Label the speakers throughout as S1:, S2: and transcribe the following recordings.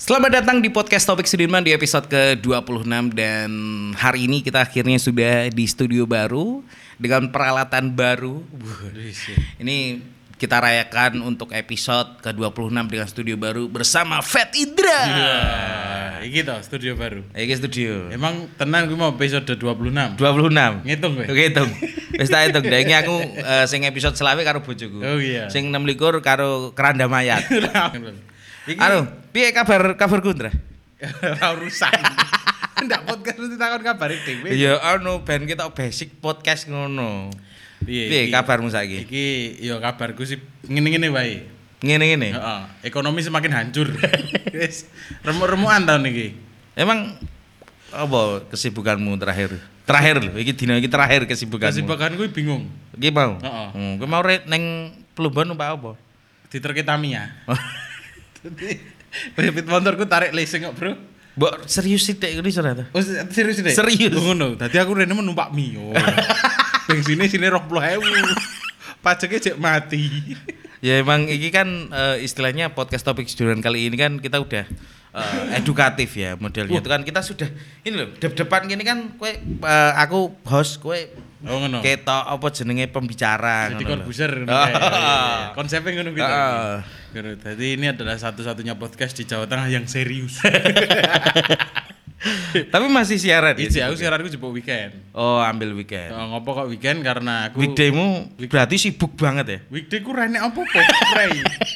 S1: Selamat datang di podcast Topik Sudirman di episode ke-26 dan hari ini kita akhirnya sudah di studio baru dengan peralatan baru. Ini kita rayakan untuk episode ke-26 dengan studio baru bersama Fat Indra.
S2: Nah, Ah, iki toh studio baru.
S1: Iki studio.
S2: Emang tenan gue mau episode 26.
S1: 26.
S2: Ngitung kowe?
S1: Oke, hitung. Wis tak hitung. Daengnya aku eh, sing episode selawe karo bojoku.
S2: Oh, iya.
S1: Sing 26 karo keranda mayat.
S2: iki
S1: Anu, piye kabar kabarku, Indra?
S2: ora urusan. Ndak podcast mesti takon kabare dhewe.
S1: Ya anu ben kita basic podcast ngono. Piye
S2: iki?
S1: kabarmu saiki?
S2: Iki ya kabarku sih ngene-ngene wae.
S1: Ngene-ngene.
S2: Heeh, ekonomi semakin hancur. Wis remuk-remukan tahun iki.
S1: Emang apa kesibukanmu terakhir? Terakhir lho, iki dina iki terakhir
S2: Kasih
S1: kesibukanmu.
S2: bakan gue bingung.
S1: Iki mau.
S2: Heeh.
S1: Hmm, kowe mau re- neng Plumbon apa apa?
S2: Diterke Tamiya. Bebit Oh. motorku tarik leasing kok, Bro.
S1: Mbok serius sithik ngene ora ta?
S2: Oh, se- serius deh.
S1: Serius.
S2: Ngono. Dadi aku rene mau numpak Mio. Bensinnya sini 20.000. Pajaknya cek mati.
S1: Ya emang iki kan eh, istilahnya podcast topik jujuran kali ini kan kita udah eh, edukatif ya modelnya
S2: Iya.
S1: itu kan kita sudah ini loh depan gini kan kue eh, aku host kue
S2: Oh ngono.
S1: ketok apa jenenge pembicara ngono
S2: Jadi
S1: lho.
S2: korbuser ngono.
S1: Ah.
S2: kayak. iya, Konsepnya ngono gitu.
S1: Ah.
S2: Ngono. Jadi ini adalah satu-satunya podcast di Jawa Tengah yang serius.
S1: Tapi masih siaran ya?
S2: Iji aku siaranku jebuk weekend.
S1: Oh, ambil weekend.
S2: Oh, ngopo kok weekend karena aku
S1: Weekdaymu
S2: Week-
S1: berarti sibuk banget ya?
S2: Weekday ku rene apa po?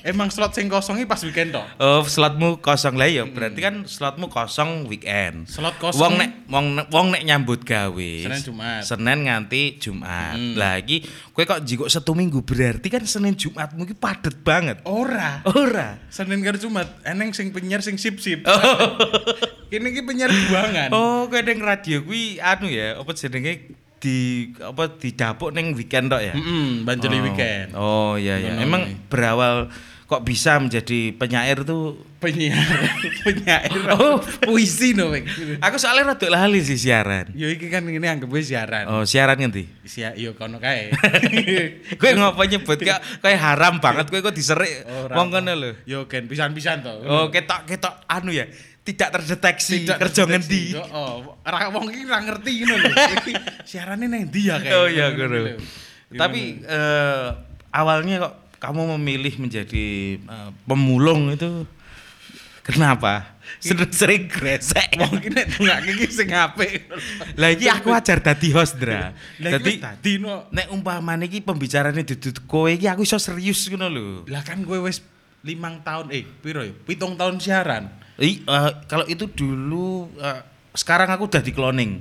S2: Emang slot sing kosongnya pas weekend toh.
S1: Oh, slotmu kosong lah ya. Berarti kan slotmu kosong weekend.
S2: Hmm. Slot kosong.
S1: Wong nek wong nek, wong nek nyambut gawe.
S2: Senin, Jumat. Hmm.
S1: Senin nganti Jumat. Lagi kowe kok jikok satu minggu berarti kan Senin Jumatmu ki padet banget.
S2: Ora.
S1: Ora.
S2: Senin karo Jumat, eneng sing penyiar sing sip-sip. Kini ki penyiar buangan.
S1: Oh, kowe ning radio kuwi anu ya, apa jenenge di apa didapuk ning weekend tok ya?
S2: Mm-mm, Banjoli Hmm, weekend.
S1: Oh iya iya.
S2: Ngono
S1: Emang
S2: nih.
S1: berawal kok bisa menjadi penyair tuh
S2: Penyiar, penyair.
S1: Oh.
S2: puisi no, Mek.
S1: Aku soalnya rada lali sih siaran.
S2: Yo iki kan ini anggap gue siaran.
S1: Oh, siaran ngendi?
S2: Sia, yo kono kae.
S1: Kowe ngopo nyebut kok kowe haram banget kowe kok diserik
S2: Ora.
S1: wong ngono lho.
S2: Yo gen pisan-pisan to.
S1: Oh, ketok-ketok anu ya, tidak terdeteksi
S2: Tidak
S1: kerja ngendi.
S2: terdeteksi. Yo, Oh, ora wong iki ora ngerti ngono lho. Iki Siarane nang ndi ya kae.
S1: Oh iya,
S2: Ngono
S1: guru.
S2: lho.
S1: Tapi eh, awalnya kok kamu memilih menjadi eh, pemulung itu kenapa? Sering-sering gresek.
S2: Iya. Wong iki nek dongake iki sing apik.
S1: Lah iki aku ajar dadi host, Dra.
S2: Lah
S1: Dadi
S2: iki dadi no.
S1: nek umpamane iki pembicaraane dudut kowe iki aku iso serius ngono lho.
S2: Lah kan gue wis limang tahun eh piro ya? Pitung tahun siaran.
S1: I, eh, kalau itu dulu eh, sekarang aku udah di cloning.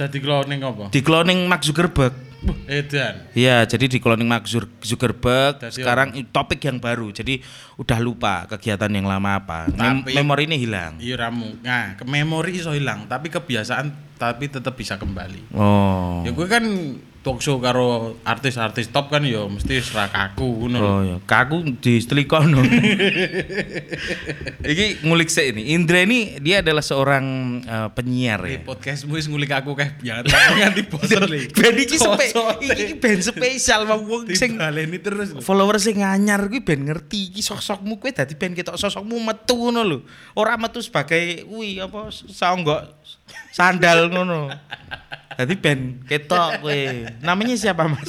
S2: Dadi kloning apa?
S1: Di cloning Mark Zuckerberg.
S2: Edan.
S1: Iya, jadi di cloning Mark Zur- Zuckerberg
S2: Jadi
S1: sekarang i- topik yang baru. Jadi udah lupa kegiatan yang lama apa. Mem-
S2: Tapi-
S1: memori ini hilang.
S2: Iya ramu. Nah, ke memori iso hilang, tapi kebiasaan tapi tetap bisa kembali.
S1: Oh.
S2: Ya gue kan talk show karo artis-artis top kan ya mesti serak aku ngono.
S1: Oh ya, kaku di Silicon. Iki ngulik saya ini. Indra ini dia adalah seorang eh, penyiar ya.
S2: Di podcastmu wis ngulik aku kayak kan, biar nganti bosen li.
S1: Ben iki sepe,
S2: Cocok.
S1: iki iki ben spesial wong wong sing
S2: Dibaleni terus. lho.
S1: follower sing anyar kuwi ben ngerti iki sosokmu kuwi dadi ben ketok sosokmu metu ngono lho. Ora metu sebagai kuwi apa saonggok sandal ngono. Dadi ben ketok kowe. Namanya siapa Mas?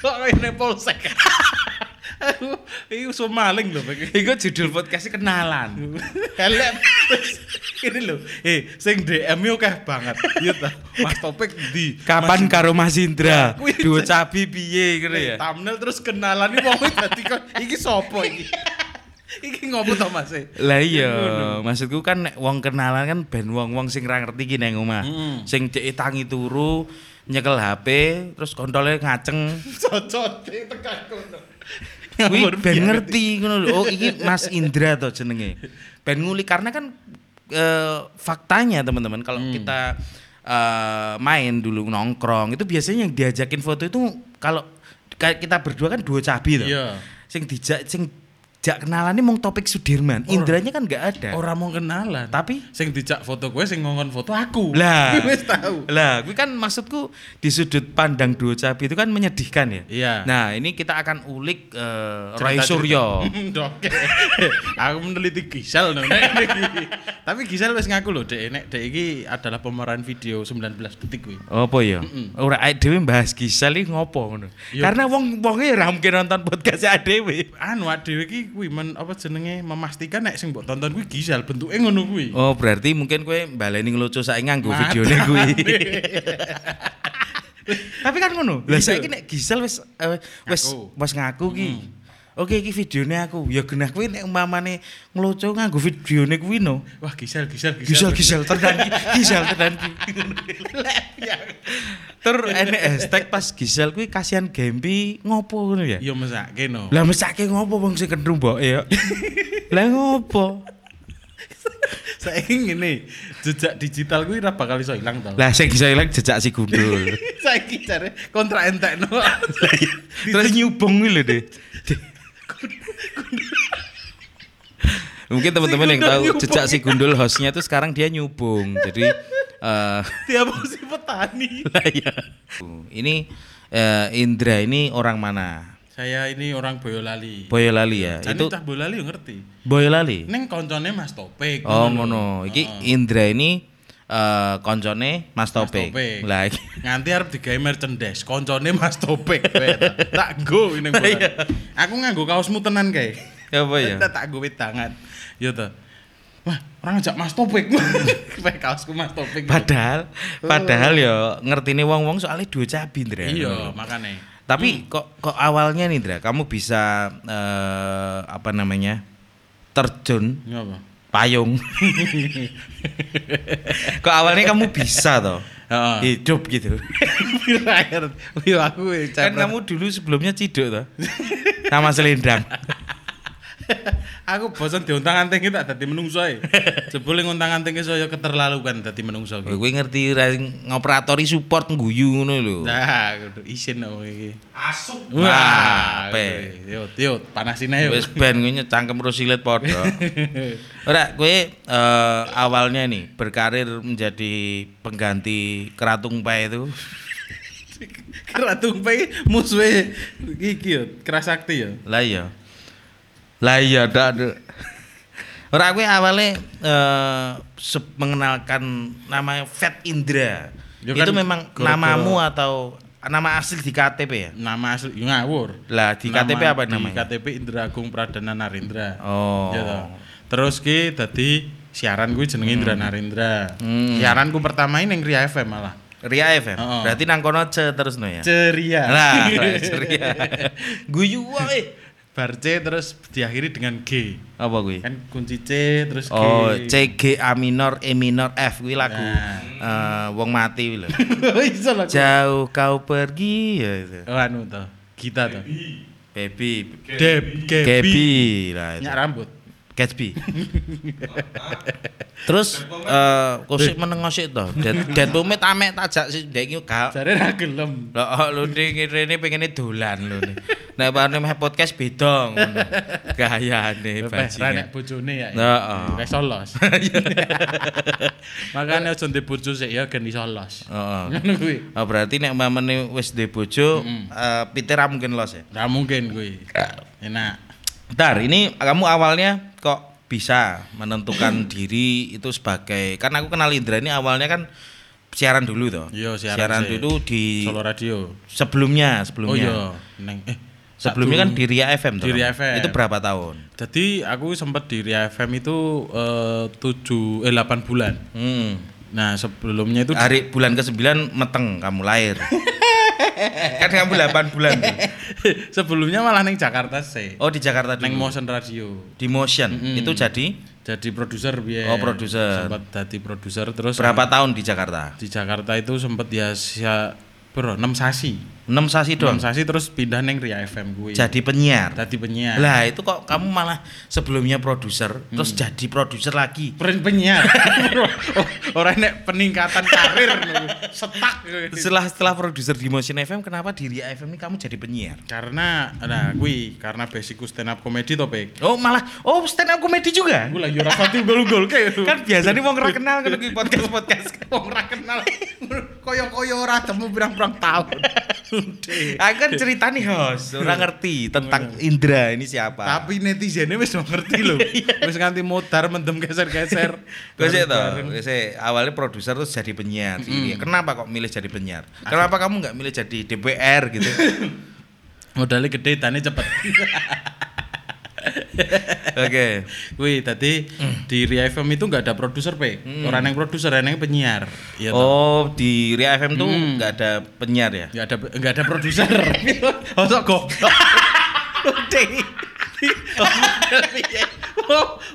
S2: Kok kayak nang polsek. Aku iki iso maling lho Pak.
S1: Iku judul podcastnya kenalan.
S2: Elek. Terus, Ini lho, eh sing DM yo kayak banget. Iya ta. Mas Topik di
S1: Kapan karo Mas Indra?
S2: Kuwi-
S1: Duo cabi piye gitu ya?
S2: Nih, thumbnail terus kenalan iki wong dadi kok iki sapa iki? iki ngopo to Mas? eh?
S1: Lah iya, maksudku kan nek wong kenalan kan ben wong-wong sing ra ngerti ki nang omah. Sing dhek tangi turu, nyekel HP, terus kontole ngaceng.
S2: Cocote tekan kono.
S1: Kuwi
S2: Ngawur
S1: ben
S2: biar.
S1: ngerti ngono lho. Oh, iki Mas Indra to jenenge. Ben ngulik karena kan eh, faktanya teman-teman kalau
S2: Hmm.
S1: kita eh, main dulu nongkrong itu biasanya yang diajakin foto itu kalau kayak kita berdua kan dua cabi tuh.
S2: Iya.
S1: Sing dijak sing Jak kenalan ini mung topik Sudirman. Indranya kan nggak ada.
S2: Orang mau kenalan.
S1: Tapi
S2: sing dijak foto gue, sing ngomong foto aku.
S1: lah,
S2: wis tahu.
S1: Lah, gue kan maksudku di sudut pandang duo cabi itu kan menyedihkan ya.
S2: Iya.
S1: Nah, ini kita akan ulik eh, Roy
S2: Cerita-cerita.
S1: Suryo.
S2: Doke. Aku meneliti Gisel no, nek iki. Tapi Gisel wis ngaku lho, Dek, nek Dek iki adalah pemeran video 19 detik kuwi.
S1: Apa ya? Ora awake dhewe bahas Gisel iki ngopo ngono.
S2: Yo.
S1: Karena wong wonge ora mungkin nonton podcast dhewe.
S2: Anu awake dhewe iki kuwi men apa jenenge memastikan nek sing mbok tonton kuwi Gisel bentuke ngono kuwi.
S1: Oh, berarti mungkin kowe baleni ngelucu saiki nganggo Oh,
S2: Mata.
S1: videone kuwi. Tapi kan ngono. Lah saiki nek Gisel wis eh, wis
S2: Ngaku.
S1: wis ngaku ki. Oke iki videone aku. Ya genah kuwi nek umpamane ngelucu nganggo videone kuwi no.
S2: Wah, Gisel, Gisel,
S1: Gisel Gisel
S2: Gisel.
S1: tenan ki, Gisel tenan ki. Ter enek hashtag pas Gisel kuwi kasihan Gempi ngopo ngono ya.
S2: Yo Iya, mesake no.
S1: Lah mesake ngopo wong sing kendru mbok ya. Lah ngopo?
S2: Saiki ngene, jejak digital kuwi ora bakal iso ilang to.
S1: Lah sing bisa ilang jejak si gundul.
S2: Saiki jare kontrak entekno. iya.
S1: Terus nyubung gitu deh. Mungkin teman-teman
S2: Si
S1: yang
S2: Gundul
S1: tahu
S2: nyubung.
S1: jejak si gundul hostnya itu sekarang dia nyubung. Jadi eh
S2: Dia si petani.
S1: lah ya. ini eh, Indra ini orang mana?
S2: Saya ini orang Boyolali.
S1: Boyolali ya.
S2: Jadi
S1: itu
S2: cah Boyolali yo ngerti.
S1: Boyolali.
S2: Neng koncone Mas Topik.
S1: Oh
S2: ngono lho.
S1: ngono. Iki
S2: Heeh.
S1: Indra ini eh koncone Mas Topik.
S2: Topik.
S1: Lah iya. iki-
S2: nganti arep digawe merchandise koncone Mas Topik kowe ta. tak go ini bola. Aku nganggo kaosmu tenan kae.
S1: Iya. apa ya?
S2: Tak tak go tangan. Yo to. Wah, orang ngajak Mas Topik. Kayak kaosku Mas Topik.
S1: Padahal
S2: Oh.
S1: padahal ya ngertine wong-wong soalnya dua cabi Indra.
S2: Iya, makane.
S1: Tapi kok kok awalnya nih Dra, kamu bisa eh, apa namanya? terjun
S2: Iya apa?
S1: payung. kok awalnya kamu bisa toh?
S2: Heeh.
S1: Hidup gitu.
S2: Pirair. Yo aku
S1: Kan
S2: kamu
S1: kamu dulu sebelumnya ciduk toh. Sama selendang.
S2: aku bosan diuntang-anting tak dadi menungso e. Jebule nguntang-anting saya keterlaluan dadi menungso iki.
S1: Gue ngerti ra ngoperatori support ngguyu ngono lho.
S2: Nah, kudu isin aku iki.
S3: Masuk.
S1: Wah,
S2: Wah,
S1: pe.
S2: Yo, yo, panasin ayo.
S1: Wis ben gue cangkem rosilet podo. Ora, gue eh, awalnya nih berkarir menjadi pengganti keratung pae itu.
S2: Keratung pe musuhe iki yo, Kerasakti yo.
S1: Lah iya. Lah iya dak. Duk. Ora kuwi awale eh se- mengenalkan nama Fat Indra.
S2: Ya
S1: itu
S2: kan,
S1: memang
S2: gara-gara-
S1: namamu atau nama asli di KTP ya?
S2: Nama asli yo ngawur.
S1: Lah di
S2: Nama-
S1: KTP apa
S2: Di
S1: namanya?
S2: KTP Indra Agung Pradana Narendra.
S1: Oh.
S2: Iya toh. Terus ki dadi siaran gue jenenge Indra
S1: Hmm.
S2: Narendra. Siaranku pertama ini yang Ria FM malah.
S1: Ria FM.
S2: Oh.
S1: Berarti nang kono ce terus no ya.
S2: Ceria.
S1: Lah, Ria. Guyu wae.
S2: Bar C terus diakhiri dengan G.
S1: Apa kuwi?
S2: Kan kunci C terus G.
S1: Oh, C G A minor E minor F kuwi lagu
S2: Nah.
S1: eh, wong mati kuwi lho.
S2: Iso lah.
S1: Jauh kau pergi ya itu.
S2: Oh anu toh. Gita toh.
S1: Baby
S2: Deb Gebi.
S1: Gaby lah itu.
S2: Nyak rambut.
S1: Gatsby. Terus eh kosik meneng kosik to. Dan dan bumi tamek tajak sih ndek iki gak.
S2: Jare ra gelem.
S1: Lah oh, lu ngene pengene dolan lu. Nek bareng meh podcast beda ngono. Gayane
S2: Bebeh, ra
S1: bajingan.
S2: nek bojone ya.
S1: Heeh.
S2: Wis solos.
S1: Iya.
S2: Makane aja ndek bojo sik ya gen iso los.
S1: Heeh.
S2: Ngono kuwi.
S1: Oh, berarti nek mamane wis duwe bojo, eh Peter ra mungkin los ya.
S2: Ra mungkin kuwi. Enak.
S1: Bentar, ini kamu awalnya kok bisa menentukan diri itu sebagai kan aku kenal Indra ini awalnya kan siaran dulu toh.
S2: Iya, siaran sih.
S1: dulu di
S2: Solo Radio.
S1: sebelumnya
S2: Oh
S1: sebelumnya.
S2: iya, neng eh
S1: Sebelumnya kan
S2: satu-
S1: di Ria FM toh.
S2: Di Ria
S1: kamu?
S2: FM.
S1: Itu berapa tahun?
S2: Jadi aku sempat di Ria FM itu eh, tujuh eh 8 bulan.
S1: Hmm.
S2: Nah, sebelumnya itu
S1: Hari bulan ke-9 meteng kamu lahir. kan kamu 8 bulan. tuh.
S2: sebelumnya malah neng Jakarta sih.
S1: Oh, di Jakarta
S2: neng
S1: dulu.
S2: Motion Radio.
S1: Di Motion. Itu jadi
S2: Jadi produser biar.
S1: Oh, produser.
S2: Sempat jadi produser terus
S1: berapa tahun di Jakarta?
S2: di Jakarta itu sempat ya sia- bro 6 sasi.
S1: 6 sasi
S2: Dom
S1: doang.
S2: Sasi terus pindah neng Ria FM gue.
S1: Jadi penyiar.
S2: Tadi penyiar.
S1: Lah itu kok kamu malah sebelumnya produser, terus jadi produser lagi.
S2: Pen- penyiar. Orang nek peningkatan karir lho. setak.
S1: Setelah setelah produser di Motion FM, kenapa di Ria FM ini kamu jadi penyiar?
S2: Karena nah gue karena basicku stand up comedy to Pek.
S1: Oh malah, oh stand up comedy juga?
S2: Gue lagi ora pati gol-gol kayak
S1: Kan biasanya mau kenal kalau di podcast-podcast.
S2: wong ora kenal. Koyo-koyo ora temu pirang-pirang tahun.
S1: Aku kan cerita nih host, orang ngerti tentang Indra ini siapa.
S2: Tapi netizennya wis ngerti lho. Wis nganti modar mendem geser-geser.
S1: Gue sih tau, gue sih awalnya produser terus jadi penyiar. Iya, Kenapa kok milih jadi penyiar? Kenapa kamu nggak milih jadi DPR gitu?
S2: Modalnya gede tane cepet.
S1: Oke.
S2: Wih, tadi di Ria FM itu nggak ada produser, Pe. Orang yang produser, orang yang penyiar. Hmm. Iya, Hmm. toh.
S1: Oh di Ria FM tuh nggak ada penyiar ya?
S2: nggak ada nggak ada produser. Osok goblok.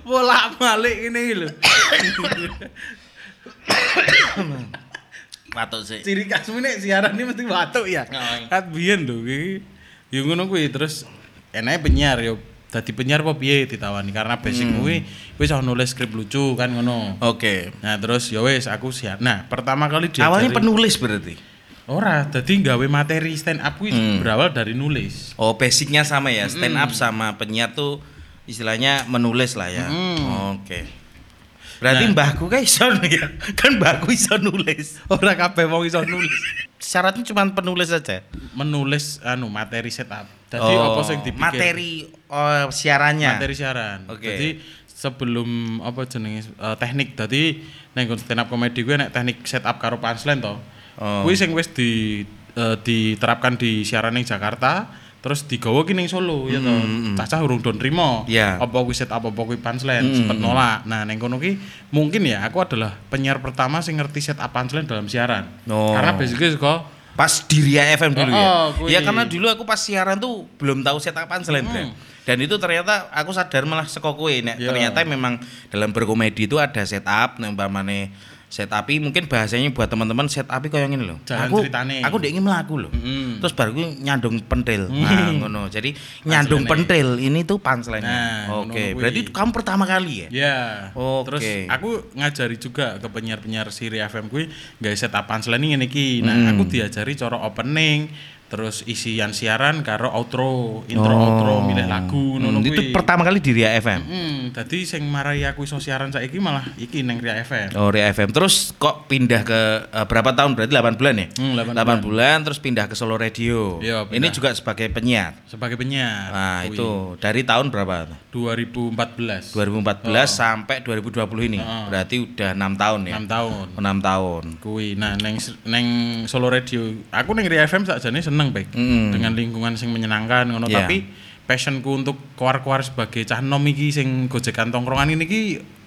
S2: Bola balik ini lho.
S1: Patut sih.
S2: Ciri khas ini siaran ini mesti batuk ya.
S1: Ngawang.
S2: Kan biyen lho iki. Ya ngono kuwi terus enake penyiar yo. Dadi penyiar apa piye ditawani karena basic
S1: Hmm.
S2: kuwi wis iso nulis skrip lucu kan ngono.
S1: Oke.
S2: Nah, terus ya wis aku siap. Nah, pertama kali dia
S1: Awalnya penulis berarti.
S2: Ora, dadi nggawe materi stand up kuwi
S1: Hmm.
S2: berawal dari nulis.
S1: Oh basicnya sama ya, stand
S2: Hmm.
S1: up sama penyiar tuh istilahnya menulis lah ya.
S2: Hmm.
S1: Oke.
S2: Nah.
S1: Berarti mbahku kan iso ya, kan mbahku iso nulis.
S2: Ora kabeh wong iso nulis.
S1: Syaratnya cuma penulis saja.
S2: Menulis anu materi setup. Dadi apa sing dipikir?
S1: Oh. materi oh, siarannya.
S2: materi siaran.
S1: Oke.
S2: Jadi sebelum apa jenenge eh, teknik dadi neng nggon stand up comedy gue nek teknik setup karo punchline to.
S1: Oh.
S2: Kuwi sing wis di eh, diterapkan di siaran ning Jakarta terus digawa ki ning Solo ya to. Cacah urung don trimo.
S1: Iya.
S2: Apa kuwi setup apa kuwi punchline sempet nolak. Nah, ning kono ki mungkin ya aku adalah penyiar pertama sing ngerti setup punchline dalam siaran.
S1: Oh.
S2: Karena basically suka
S1: Pas di Ria FM dulu ya.
S2: Oh, Hmm. kui.
S1: Ya karena dulu aku pas siaran tuh belum tahu setup punchline Bram. Dan itu ternyata aku sadar malah seko kowe nek
S2: Iya.
S1: ternyata memang dalam berkomedi itu ada setup nek umpamane setup mungkin bahasanya buat teman-teman setup kayak gini loh.
S2: Jalan
S1: aku
S2: ceritane. Hmm.
S1: aku ndek melaku loh.
S2: Mm-mm.
S1: Terus baru gue nyandung pentil.
S2: Hmm.
S1: Nah, ngono. Jadi nyandung pentil ini tuh punchline.
S2: Nah,
S1: Oke,
S2: ngono kui.
S1: berarti kamu pertama kali ya?
S2: Ya.
S1: Oke.
S2: Terus aku ngajari juga ke penyiar-penyiar Siri FM kuwi gawe setup punchline ngene iki. Nah,
S1: Hmm.
S2: aku diajari cara opening, terus isian siaran karo outro, intro
S1: Oh.
S2: outro milih lagu ngono
S1: Hmm,
S2: kuwi.
S1: itu pertama kali di Ria FM.
S2: Hmm, dadi sing marai aku iso siaran saiki malah iki neng Ria FM.
S1: Oh, Ria FM. Terus kok pindah ke eh, berapa tahun? Berarti 8 bulan ya?
S2: Hmm, 8
S1: bulan. terus pindah ke Solo Radio.
S2: Iya,
S1: Ini
S2: pindah. Oh, iya.
S1: juga sebagai penyiar.
S2: Sebagai penyiar.
S1: Nah,
S2: kuwi.
S1: itu dari tahun berapa?
S2: 2014.
S1: 2014
S2: Oh.
S1: sampai 2020 ini.
S2: Ah.
S1: Berarti udah enam tahun ya.
S2: 6 tahun.
S1: 6 tahun.
S2: Kui, nah neng neng Solo Radio, aku neng Ria FM sakjane seneng baik
S1: Mm.
S2: dengan lingkungan sing menyenangkan, ngono
S1: Iya.
S2: tapi passionku untuk koar-koar sebagai cah nom iki sing gojekan tongkrongan ini ki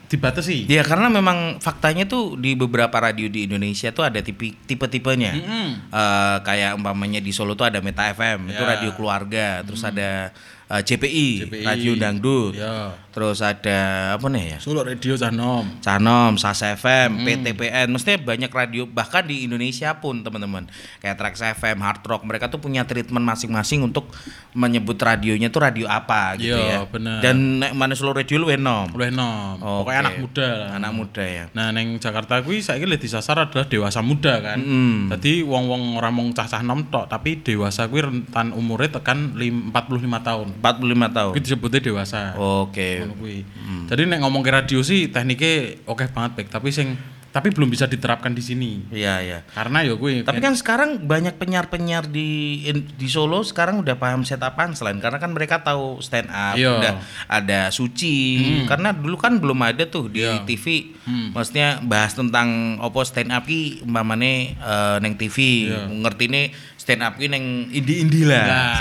S2: dibatasi.
S1: Ya karena memang faktanya tuh di beberapa radio di Indonesia tuh ada tipe tipe-tipenya.
S2: Mm-mm.
S1: Eh, kayak umpamanya di Solo tuh ada Meta FM, itu
S2: Ya.
S1: radio keluarga, terus ada eh, JPI,
S2: JPI.
S1: Radio Dangdut.
S2: Ya.
S1: Terus ada apa nih ya?
S2: Solo Radio cah nom.
S1: Canom, SAS FM, PTPN, mestinya banyak radio bahkan di Indonesia pun teman-teman kayak Trax FM, Hard Rock mereka tuh punya treatment masing-masing untuk menyebut radionya tuh radio apa gitu
S2: Iya,
S1: ya.
S2: bener.
S1: Dan nek mana solo radio lu enom.
S2: Luwih nom.
S1: Oke.
S2: Pokoknya anak muda lah.
S1: Anak muda ya.
S2: Nah, neng Jakarta kuwi saiki lek disasar adalah dewasa muda kan.
S1: Mm.
S2: Tadi wong-wong ora mung cah-cah nom tok, tapi dewasa kuwi rentan umurnya tekan lim- 45 tahun.
S1: 45 tahun.
S2: Kuwi disebutnya dewasa.
S1: Oke.
S2: ngono kuwi.
S1: Hmm.
S2: Jadi nek ngomong ke radio sih tekniknya oke banget Bek, tapi sing tapi belum bisa diterapkan di sini.
S1: Iya, iya.
S2: Karena ya kuwi
S1: Tapi kan sekarang banyak penyiar-penyiar di in- di Solo sekarang udah paham setup punchline karena kan mereka tahu stand up,
S2: Iya. Hmm.
S1: udah ada suci. Karena dulu kan belum ada tuh di
S2: Iya.
S1: TV. Maksudnya bahas tentang opo stand up ki umpamane eh, neng TV.
S2: Iya.
S1: Ngerti nih stand up ki neng indie-indie
S2: Nah.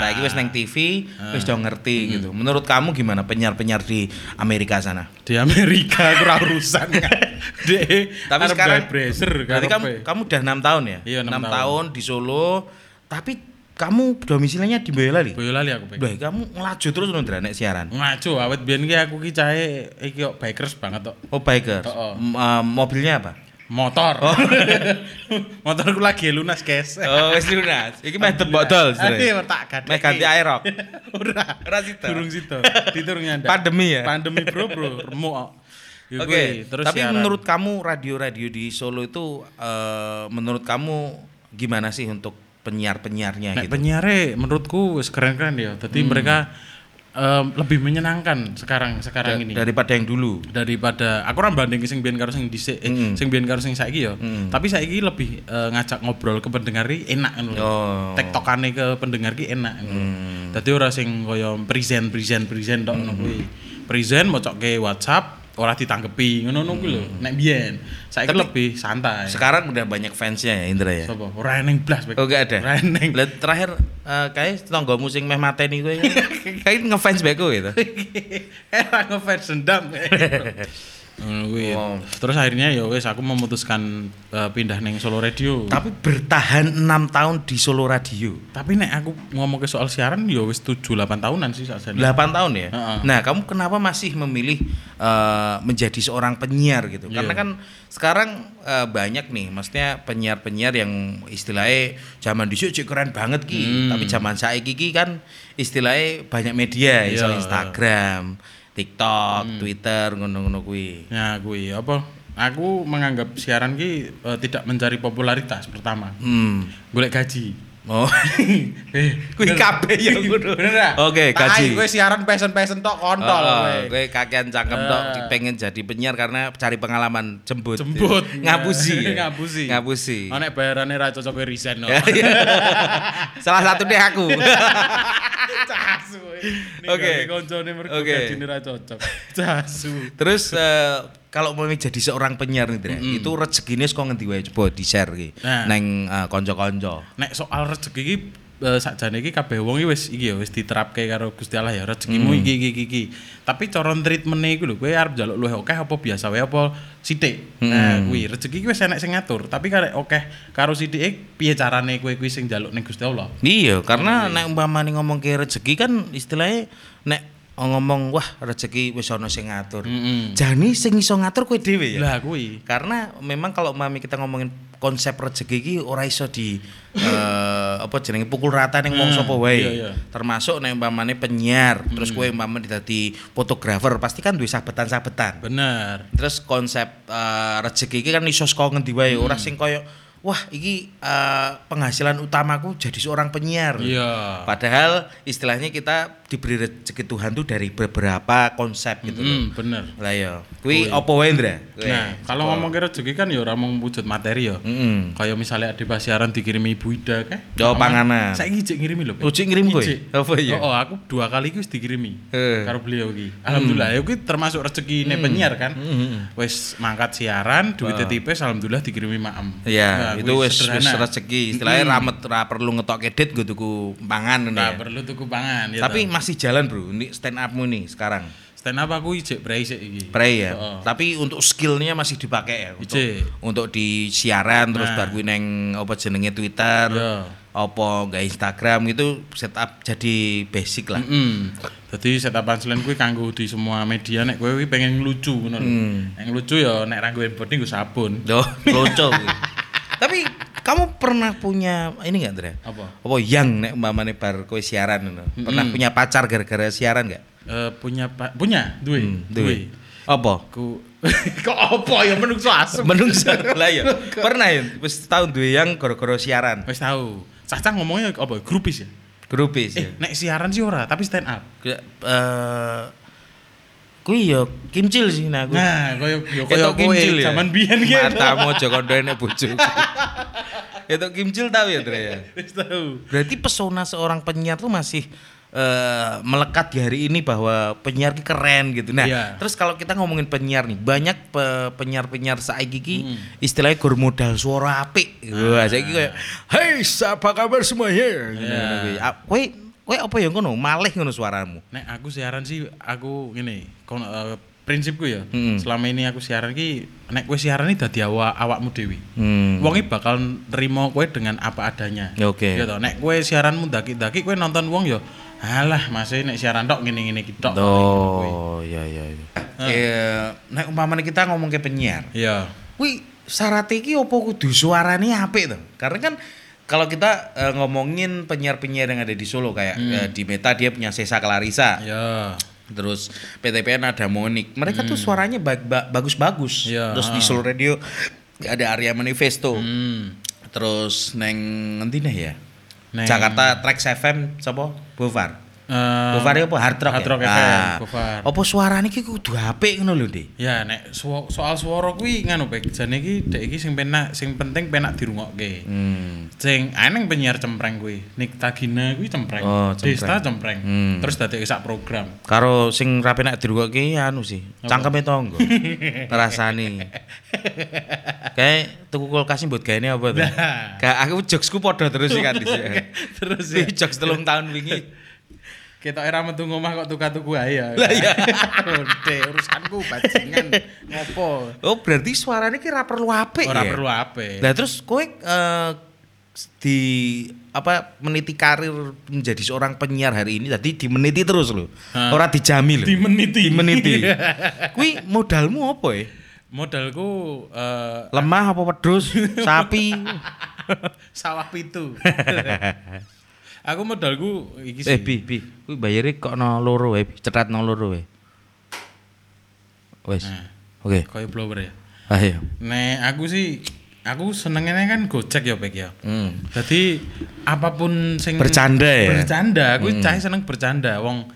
S1: lah. Saya wis neng TV wis udah ngerti
S2: Hmm.
S1: gitu. Menurut kamu gimana penyiar-penyiar di Amerika sana?
S2: di Amerika aku ora urusan kan. Dek,
S1: Tapi
S2: arep
S1: sekarang-
S2: gawe bracer
S1: Berarti
S2: karo
S1: kamu
S2: pe.
S1: kamu udah enam tahun ya?
S2: Iya, enam
S1: Enam
S2: tahun.
S1: tahun di Solo. Tapi kamu domisilinya di Boyolali.
S2: Boyolali aku Bek.
S1: Lah kamu ngelaju terus lho Ndra nek siaran.
S2: Ngaco awet biyen ki aku ki cahe iki kok bikers banget tok.
S1: Oh bikers.
S2: Oh, oh.
S1: M- eh, mobilnya apa?
S2: motor. Motorku lagi lunas, guys.
S1: Oh, wis lunas. Iki meh tembok dol
S2: Ade
S1: sebenarnya.
S2: tak gadeke.
S1: Meh ganti aerok.
S2: Ora.
S1: Ora sida.
S2: Durung sida. Diturung nyandak.
S1: Pandemi ya.
S2: Pandemi, Bro, Bro. Remuk kok. Ya
S1: Oke,
S2: kuwi, terus
S1: tapi
S2: siaran.
S1: menurut kamu radio-radio di Solo itu eh, menurut kamu gimana sih untuk penyiar-penyiarnya gitu?
S2: Nek
S1: Hmm.
S2: penyiare menurutku wis keren-keren ya. Jadi mereka em, lebih menyenangkan sekarang sekarang ini.
S1: Daripada yang dulu.
S2: daripada aku ora banding sing biyen karo sing dhisik eh,
S1: Mm.
S2: sing biyen karo sing saiki ya.
S1: Hmm.
S2: Tapi saiki lebih eh, ngajak ngobrol ke pendengar iki enak ngono. lho.
S1: Oh. Hmm.
S2: Tektokane ke pendengar iki enak ngono. lho. Dadi ora sing kaya present present present tok ngono kuwi. Present mocokke WhatsApp ora ditanggepi ngono ngono kuwi lho. Nek biyen saiki
S1: Hmm. Tapi-
S2: lebih santai.
S1: Sekarang udah banyak fansnya ya Indra ya.
S2: Sopo? Ora eneng blas. Bek.
S1: Oh gak ada.
S2: Ora eneng.
S1: Lah, terakhir eh kayak tonggo musik meh mateni kowe. kayak ngefans bae kowe gitu.
S2: Era ngefans dendam. Ngono kuwi.
S1: Wow.
S2: Hmm, Terus akhirnya ya wes aku memutuskan eh, pindah neng Solo Radio.
S1: Tapi bertahan enam tahun di Solo Radio.
S2: Tapi nek aku ngomong ke soal siaran ya wis 7 8 tahunan sih saat
S1: 8 tahun ya.
S2: Heeh.
S1: Nah, kamu kenapa masih memilih eh, menjadi seorang penyiar gitu? Karena
S2: Iya.
S1: kan sekarang eh, banyak nih, maksudnya penyiar-penyiar yang istilahnya zaman dulu cek keren banget
S2: Hmm.
S1: ki, tapi zaman saiki ki kan istilahnya banyak media, ya,
S2: Iya. Hmm.
S1: misal Instagram, TikTok, Twitter, ngono-ngono kuwi.
S2: Ya kuwi apa? Aku menganggap siaran ki eh, tidak mencari popularitas pertama.
S1: Hmm.
S2: Golek gaji.
S1: Oh.
S2: eh,
S1: Kuwi kabeh ya ngono.
S2: bener ra?
S1: Oke,
S2: Tak
S1: gaji.
S2: ai, kowe siaran pesen-pesen tok kontol
S1: Oh,
S2: kowe.
S1: Gue kakean cangkem
S2: Eh.
S1: tok pengen jadi penyiar karena cari pengalaman jembut.
S2: Jembut.
S1: Ngapusi. ya.
S2: Ngapusi.
S1: Ngapusi. Ya,
S2: Oh nek bayarane ra cocok kowe resign no.
S1: Salah satu deh aku.
S2: Casu.
S1: Oke.
S2: Oke. Koncone mergo
S1: Oke.
S2: gajine ra cocok. Casu.
S1: Terus eh, kalau mau jadi seorang penyiar nih, Dre, itu rezekinya kok ngendi wae coba di-share iki
S2: Nah.
S1: neng eh, kanca-kanca.
S2: nek soal rezeki iki eh, sakjane iki kabeh wong iki wis iki ya wis diterapke karo Gusti Allah ya rezekimu
S1: Hmm.
S2: iki iki iki, iki. Tapi cara treatment-e iku lho kowe arep njaluk luwih akeh apa biasa wae apa sithik.
S1: Hmm.
S2: Nah, kuwi rezeki iki wis enek sing ngatur, tapi karek akeh karo sithike piye carane kowe kuwi sing njaluk ning Gusti Allah.
S1: Iya, karena nek umpamane ngomong ke rezeki kan istilahnya nek ngomong wah rezeki wis ana sing ngatur. Jani sing iso ngatur kowe dhewe ya.
S2: Lah kuwi.
S1: karena memang kalau mami kita ngomongin konsep rezeki iki ora iso di eh, apa jenenge pukul rata ning wong sapa wae.
S2: iya, Hmm. iya.
S1: Termasuk nek umpamane penyiar, terus kowe umpamane dadi fotografer, pasti kan duwe sabetan-sabetan.
S2: Bener.
S1: Terus konsep eh, rezeki iki kan iso saka ngendi wae, ora
S2: Hmm.
S1: sing koyo wah iki eh, penghasilan utamaku jadi seorang penyiar.
S2: Iya.
S1: Padahal istilahnya kita diberi rezeki Tuhan tuh dari beberapa konsep gitu loh.
S2: Hmm, bener.
S1: Lah ya, kuwi opo wae, Ndra? Kuwi.
S2: Nah, kalau ngomong ke rezeki kan ya ora mung wujud materi ya.
S1: Mm-mm.
S2: Kayak misalnya ada siaran dikirimi Ibu Ida kah?
S1: Oh, panganan.
S2: Saya ngijik ngirimi lho. Pak.
S1: Oh, Cik ngirim kowe?
S2: Ijik.
S1: Apa iya?
S2: Oh, oh, aku dua kali wis dikirimi
S1: Eh. Hmm.
S2: karo beliau iki. Alhamdulillah, ya kuwi termasuk rezeki ne penyiar kan. Wis mangkat siaran, duitnya tipis alhamdulillah dikirimi maem. Nah,
S1: Iya, itu
S2: kuwi
S1: wis wis
S2: sederhana.
S1: rezeki. Istilahnya ramet ra perlu ngetok edit gue tuku pangan
S2: Nggak
S1: nah,
S2: perlu tuku pangan ya.
S1: Tapi
S2: toh.
S1: masih jalan, Bro. Ini stand upmu nih sekarang.
S2: stand up aku ijik brei sik iki.
S1: Pray ya.
S2: Oh.
S1: Tapi untuk skillnya masih dipakai ya untuk
S2: Ijik.
S1: untuk di siaran terus
S2: Nah.
S1: bar kuwi neng apa jenenge Twitter,
S2: Iya.
S1: apa nggak Instagram itu setup jadi basic lah.
S2: Mm. Dadi setup punchline kuwi kanggo di semua media nek kowe kuwi pengen lucu ngono lho.
S1: Hmm.
S2: Nek lucu ya nek ra nggo handphone nggo sabun.
S1: Loh, lucu. kuwi. Tapi kamu pernah punya ini enggak, Dre?
S2: Apa?
S1: Apa yang nek umpamane bar kowe siaran ngono. Pernah punya pacar gara-gara siaran enggak?
S2: Eh, punya Pak, punya duwe.
S1: Hmm, Duwe. Apa?
S2: Ku kok opo ya menungso asem.
S1: Menungso lah ya. Pernah ya, wis tahun duwe yang gara-gara siaran.
S2: Wis tahu. Caca ngomongnya apa? Grupis ya.
S1: Grupis ya.
S2: Eh, nek siaran sih ora, tapi stand up.
S1: Ke- Eh kuwi ya kimcil sih nah aku.
S2: Nah, koyo yo koyo
S1: Ketok
S2: kowe
S1: kimcil ya.
S2: zaman biyen gitu. ki.
S1: Matamu aja kondoe nek bojoku. Ketok kimcil tau ya, Dre ya.
S2: Wis tahu.
S1: Berarti pesona seorang penyiar tuh masih eh, melekat di hari ini bahwa penyiar ki keren gitu. Nah,
S2: Iya.
S1: terus kalau kita ngomongin penyiar nih, banyak pe- penyiar-penyiar saiki ki istilahnya gur modal suara apik. gitu. Wah, saiki kayak hey, apa kabar Gitu, semuanya? Yeah. Ah, Kowe kowe apa ya ngono? Malih ngono suaramu.
S2: Nek aku siaran sih aku ngene, kon eh, prinsipku ya.
S1: Hmm.
S2: Selama ini aku siaran ki nek kowe siaran iki dadi awak awakmu dhewe.
S1: Hmm.
S2: Wong iki bakal nerima kowe dengan apa adanya.
S1: Ya, oke.
S2: Ya toh, nek kowe siaranmu daki-daki kowe nonton wong ya alah masih nek siaran tok ngene-ngene ki tok.
S1: Oh, iya iya iya. Eh, nek umpamane kita ngomong ke penyiar,
S2: Iya.
S1: Wih, syarat iki opo kudu suarane apik to. Karena kan kalau kita eh, ngomongin penyiar-penyiar yang ada di Solo kayak
S2: Hmm.
S1: eh, di Meta dia punya Sesa Clarissa.
S2: Ya.
S1: Terus PTPN ada Monik. Mereka
S2: Hmm.
S1: tuh suaranya ba- ba- bagus-bagus.
S2: Iya,
S1: Terus di Solo Radio ada Arya Manifesto.
S2: Hmm.
S1: Terus neng ngendi nih ya?
S2: Neng-
S1: Jakarta Trax FM sapa? Bovar.
S2: Eh,
S1: Bovar ya apa hard rock?
S2: Hard Rock
S1: ya?
S2: FM,
S1: Ah.
S2: Bovar.
S1: Apa suarane iki kudu apik ngono lho, Dik?
S2: Ya nek suwo- soal swara kuwi nganu bae jane iki dek iki sing penak sing penting penak dirungokke.
S1: Hmm.
S2: Sing aneng penyiar cempreng kuwi. Nikta Gina kuwi cempreng.
S1: Oh, cempreng.
S2: Desta cempreng.
S1: Hmm.
S2: Terus dadi sak program.
S1: Karo sing rapi nek dirungokke anu sih, cangkeme tonggo. Rasane. Kayak tuku kulkas mbok gaene apa tuh?
S2: Nah.
S1: Kayak aku jokesku padha terus sih kan dhisik.
S2: Terus ya.
S1: Iki jokes telung tahun wingi.
S2: Kita era metu ngomah kok tuku-tuku ae ya.
S1: Lah, iya.
S2: Ode urusanku bajingan ngopo.
S1: Oh, berarti suarane ki ra perlu apik
S2: Ora
S1: ya?
S2: perlu ape.
S1: Nah terus kowe eh, di apa meniti karir menjadi seorang penyiar hari ini tadi dimeniti terus loh.
S2: Hah?
S1: Ora dijami loh.
S2: Dimeniti.
S1: Dimeniti. Kuwi modalmu apa ya?
S2: Modalku eh,
S1: Lemah apa pedus? Sapi.
S2: sawah pitu. Aku modalku iki
S1: eh
S2: sih.
S1: bi bi, kuwi bayare kok no loro wae, Bi. cetat no loro wae. Wes.
S2: Nah.
S1: Oke. Ah, iya.
S2: Kayak blower ya.
S1: Ayo.
S2: Nek aku sih aku senengnya kan gojek ya Pek ya.
S1: Hmm.
S2: Jadi apapun sing
S1: Bercanda ya?
S2: Bercanda, aku cah seneng bercanda wong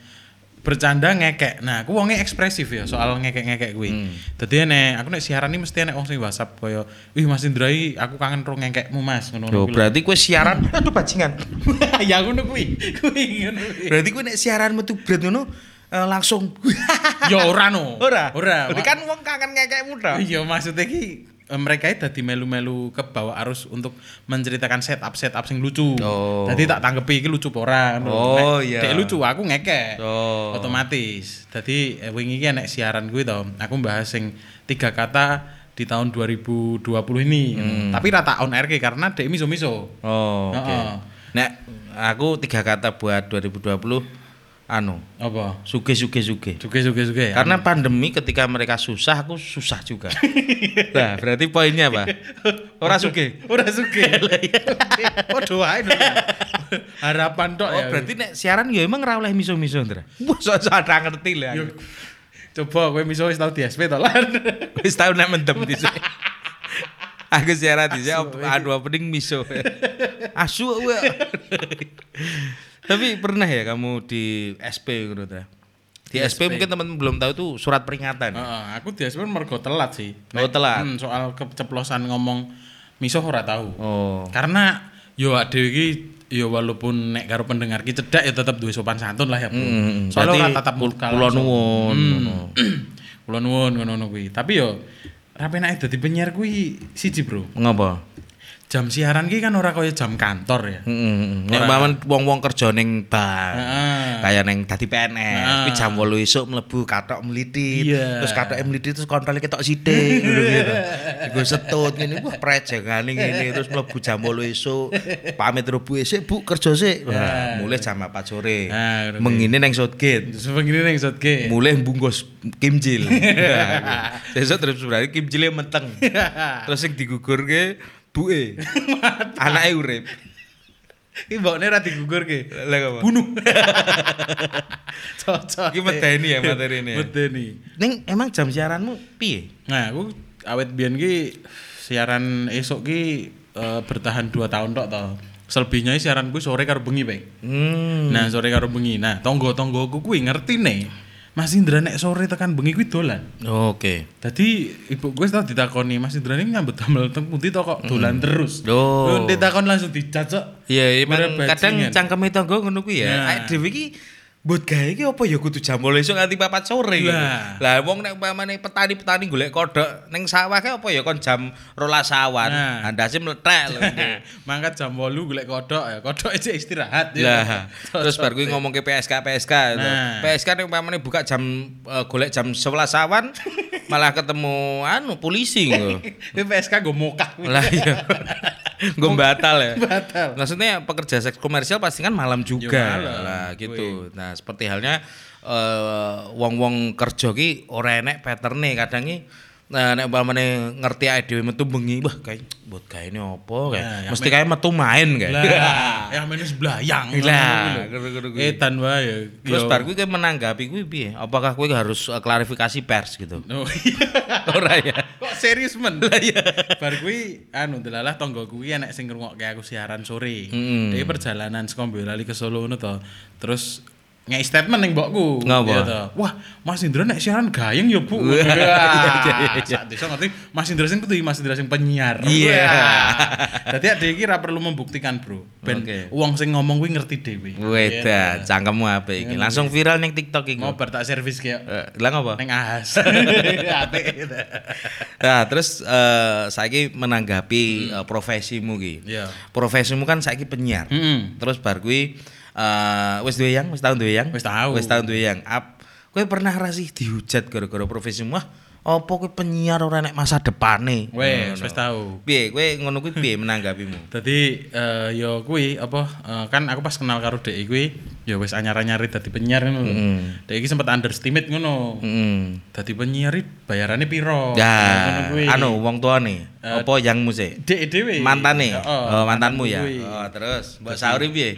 S2: bercanda ngekek. Nah, aku wonge ekspresif ya soal ngekek-ngekek kuwi.
S1: Hmm.
S2: Dadi nek aku nek siaran ini mesti nek wong sing WhatsApp koyo, "Wih Mas Indrai, aku kangen ro ngekekmu Mas." Ngono
S1: Loh,
S2: kuwi.
S1: berarti kue siaran aduh bajingan.
S2: Ya ngono kuwi. Kuwi ngono kuwi.
S1: Berarti kue nek siaran metu berat ngono eh, langsung
S2: Ya ora no.
S1: Ora.
S2: Ora.
S1: Berarti kan wong kangen ngekekmu dah.
S2: Iya maksudnya ki eh, mereka itu tadi melu-melu ke bawah arus untuk menceritakan setup setup sing lucu.
S1: Oh.
S2: Jadi tak tanggepi ki lucu apa ora. ngono.
S1: Oh,
S2: Nek
S1: iya.
S2: dek lucu aku ngekek.
S1: Oh.
S2: Otomatis. Jadi eh, wingi ki nek siaran gue to, aku bahas sing tiga kata di tahun 2020 ini.
S1: Hmm.
S2: Tapi rata on air ki karena dek miso-miso.
S1: Oh, oke.
S2: Heeh.
S1: Nek aku tiga kata buat 2020 anu,
S2: Apa?
S1: suge suge suge.
S2: Suge suge suge. ya?
S1: Karena pandemi ketika mereka susah, aku susah juga. nah, berarti poinnya apa? Ora suge.
S2: ora suge. Padha wae. Nur. Harapan tok
S1: Oh,
S2: ya.
S1: berarti nek siaran ya emang ora oleh miso-miso, Ndra. Wah, sok ada ngerti lah.
S2: Yo, coba kowe miso wis tau di SP to lan.
S1: Wis tau nek mendem dhisik. Aku siaran dhisik op- anu opening miso. Asu gue. Tapi pernah ya kamu di SP gitu ta? Di, SP, mungkin teman belum tahu itu surat peringatan.
S2: Heeh, aku di SP mergo telat sih.
S1: Oh, telat.
S2: Hmm, soal keceplosan ngomong miso ora tahu.
S1: Oh.
S2: Karena yo ade iki yo walaupun nek karo pendengar ki cedak ya tetep duwe sopan santun lah ya. Bro. Soalnya ora tatap muka.
S1: kula
S2: langsung. Hmm.
S1: nuwun. ngono.
S2: Oh. Kula nuwun ngono-ngono kuwi. Tapi yo ra penake dadi penyiar kuwi siji, Bro.
S1: Ngapa?
S2: Jam siaran ki kan ora kaya jam kantor ya.
S1: Heeh. Nek paman wong-wong kerja ning bank.
S2: Heeh.
S1: Kayak neng tadi PNS,
S2: Heeh.
S1: kuwi jam 8 esuk mlebu katok meliti,
S2: Iya.
S1: terus katok meliti terus kontrol ketok sithik ngono gitu. Gue setut ngene wah prejengane ngene terus mlebu jam 8 esuk, pamit rubu esuk, Bu kerja sik. Wah, Mulai jam 4 sore.
S2: Ah, ngerti.
S1: Mengine neng Southgate.
S2: Sepengine ning sotge.
S1: mulai bungkus kimjil besok terus sebenarnya kimjilnya menteng terus yang digugur ke buke anaknya urip
S2: Ki mbokne ra digugurke.
S1: Lah, apa?
S2: Bunuh. Cocok.
S1: Ki medeni ya materi ini ya?
S2: Medeni.
S1: Neng emang jam siaranmu piye?
S2: Nah, aku awet biyen ki siaran esok ki eh, bertahan 2 tahun tok to. Selebihnya siaran ku sore karo bengi, Pak.
S1: Hmm.
S2: Nah, sore karo bengi. Nah, tonggo-tonggoku kuwi ngerti nih. Mas Indra nek sore tekan bengi kuwi dolan.
S1: Oke.
S2: Tadi ibu gue tau ditakoni Mas Indra ini nyambut damel teng pundi to kok dolan terus.
S1: Loh.
S2: Lu ditakon langsung dicacok.
S1: Hmm. Iya,
S2: Bener
S1: emang kadang
S2: bajingan.
S1: cangkeme tangga ngono kuwi
S2: Nah.
S1: ya. Nah. Dhewe iki buat gawe iki apa ya kudu jam 8 esuk nganti 4 sore. gitu.
S2: Lah.
S1: Lah wong nek umpamane petani-petani golek kodhok ning sawah kae apa ya kon jam 12 sawan.
S2: Nah.
S1: Andase mlethek lho.
S2: mangkat jam 8 golek kodok ya kodok aja istirahat ya.
S1: Lah, terus bar kuwi ngomong ke PSK PSK. itu.
S2: Nah.
S1: PSK nek umpamane buka jam eh, golek jam 11 sawan malah ketemu anu polisi ngono.
S2: Ini PSK gue mokah
S1: lah iya gue batal ya
S2: Oh, Batal.
S1: maksudnya pekerja seks komersial pasti kan malam juga
S2: Ya, malam.
S1: lah gitu nah seperti halnya eh, wong wong kerja ki ora enek patterne kadang ki Nah, nek umpamane ngerti ae dhewe metu bengi, wah kayak buat gaene opo kayak.
S2: Nah, yang
S1: Mesti kayak metu main kayak.
S2: Lah, Ya, yang minus belayang.
S1: Lah,
S2: Eh tan wae.
S1: Terus
S2: Yo.
S1: bar kuwi kowe menanggapi kuwi piye? Apakah kuwi harus eh, klarifikasi pers gitu?
S2: Oh, iya.
S1: Ora ya.
S2: Kok serius men? Lah iya. Bar kuwi anu delalah tangga kuwi enek sing ngrungokke aku siaran sore.
S1: Mm.
S2: Dari perjalanan saka Boyolali ke Solo ngono to. Terus ngei statement ning mbokku.
S1: Ngapa?
S2: Iya to. Wah, Mas Indra nek siaran gayeng ya, Bu.
S1: Wah, iya, iya, iya.
S2: Sak desa ngerti Mas Indra sing kudu Mas Indra sing penyiar.
S1: Iya.
S2: Dadi ade iki ra perlu membuktikan, Bro. Ben
S1: Oke.
S2: wong sing ngomong kuwi ngerti dhewe.
S1: Wedah, cangkemmu apik
S2: Iya,
S1: iki. Langsung viral ning TikTok iki.
S2: Mau bar tak servis kayak
S1: Eh, Lah ngapa?
S2: ning ahas. Apik.
S1: Nah, terus eh saiki menanggapi eh, profesimu ki.
S2: Hmm. Iya. Hmm.
S1: Profesimu kan saiki penyiar.
S2: Heeh.
S1: Terus bar kuwi eh wis duwe yang, wis tahun duwe yang.
S2: Wis tau.
S1: Wis tahun duwe yang. Ap, kowe pernah ra sih dihujat gara-gara profesimu? Ah, apa kowe penyiar ora nek masa depane?
S2: Wes, wis tau.
S1: Piye kowe ngono kuwi piye menanggapimu?
S2: Tadi eh yo kuwi apa eh, kan aku pas kenal karo Dek kuwi ya wis anyar-anyari dadi penyiar ngono.
S1: Mm.
S2: Dek iki sempat underestimate ngono.
S1: Heeh.
S2: Dadi penyiar iki bayarane piro? Oh, Ngono
S1: Ya,
S2: kuwi.
S1: anu wong tuane.
S2: Eh, iya,
S1: apa yang muse?
S2: Dek dhewe.
S1: Mantane.
S2: Heeh,
S1: Oh, mantanmu ya.
S2: kuwi.
S1: Oh, terus Mbak Sauri piye?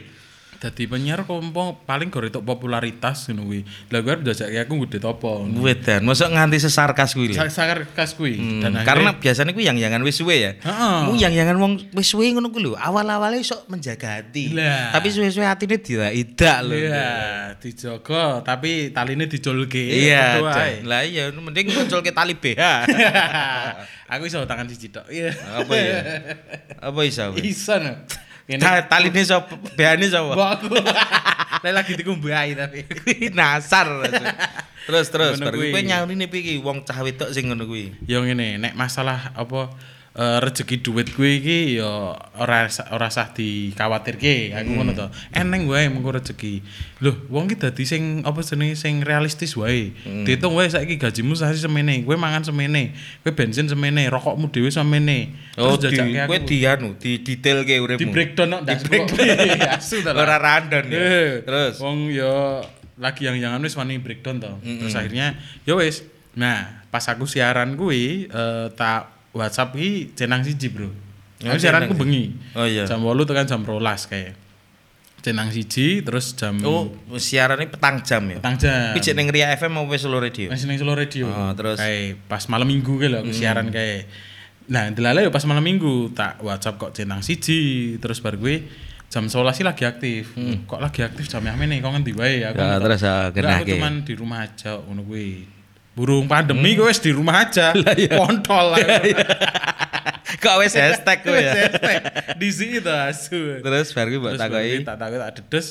S2: Dadi penyiar kompo paling gore tok popularitas ngono kuwi. Lah gue arep ndajakke aku ngudhe topo.
S1: Wedan, mosok nganti sesarkas kuwi lho.
S2: Sakar kas kuwi
S1: Hmm,
S2: dan
S1: karena
S2: akhirnya-
S1: biasanya gue yang-yangan wis suwe ya.
S2: Heeh.
S1: Mu yang-yangan wong wis suwe ngono ku lho. Awal-awale sok menjaga hati.
S2: Lah.
S1: Tapi suwe-suwe hatine tidak lho.
S2: Iya, dijogo tapi taline dijolke.
S1: Iya.
S2: Berdua ae.
S1: Jan. Lah iya mending munculke tali BH.
S2: aku iso tangan siji tok. Iya.
S1: Apa ya? Apa iso? weh?
S2: Iso no. Iya, Ngene
S1: Ta- Taline sapa? BH-ne sapa?
S2: Mbok aku. Lah lagi dikumbahi tapi.
S1: Kuwi nasar. rasanya. Terus terus
S2: Ngono
S1: bar kuwi
S2: kuwi.
S1: kowe nyaurine piye iki wong cah wedok sing ngono kuwi.
S2: Yo ngene, nek masalah apa eh, rezeki duit kuwi iki yo ora sa- ora sah dikhawatirke aku ngono to. Eneng wae mengko rezeki. Loh, wong iki dadi sing apa jenenge sing realistis wae. Diitung wae saiki gajimu sasi semene, kowe mangan semene, kowe bensin semene, rokokmu dhewe semene.
S1: Oh, di,
S2: Terus jajakke aku.
S1: kowe di anu, di detailke uripmu.
S2: di breakdown no, ndas,
S1: break-
S2: kok. Asu ta, lah.
S1: Ora random ya.
S2: Eh,
S1: Terus
S2: wong yo lagi yang jangan wis wani breakdown to. Terus akhirnya yo wis. Nah, pas aku siaran kuwi eh, tak WhatsApp ki cenang siji,
S1: Oh,
S2: Bro. Aku
S1: cenang
S2: siaran ku
S1: siji.
S2: bengi.
S1: Oh, iya.
S2: Jam 8 tekan jam 12 kayak. Cenang siji terus jam
S1: Oh, siarannya petang jam ya.
S2: petang jam.
S1: Kuwi jek ning Ria FM apa wis Solo Radio?
S2: Masih neng Solo Radio.
S1: Oh, terus?
S2: Kayak pas malam minggu kayak lho aku siaran kayak. Nah, delala ya pas malam minggu tak WhatsApp kok cenang siji terus bar gue jam 11 sih lagi aktif. Kok lagi aktif jam yang nih kok ngendi wae
S1: Mm.
S2: aku.
S1: Ya,
S2: ngetok.
S1: terus, ah,
S2: Nggak, aku
S1: genahke.
S2: cuman di rumah aja ngono kuwi. Burung
S1: Hmm.
S2: pandemi gue wis di rumah aja. Kontol aku.
S1: Kok wis hashtag kowe
S2: Wis
S1: ya.
S2: estek. Di sini tuh asu.
S1: Terus bar kuwi mbok
S2: Terus
S1: takoki.
S2: bagi, tak takoki tak dedes.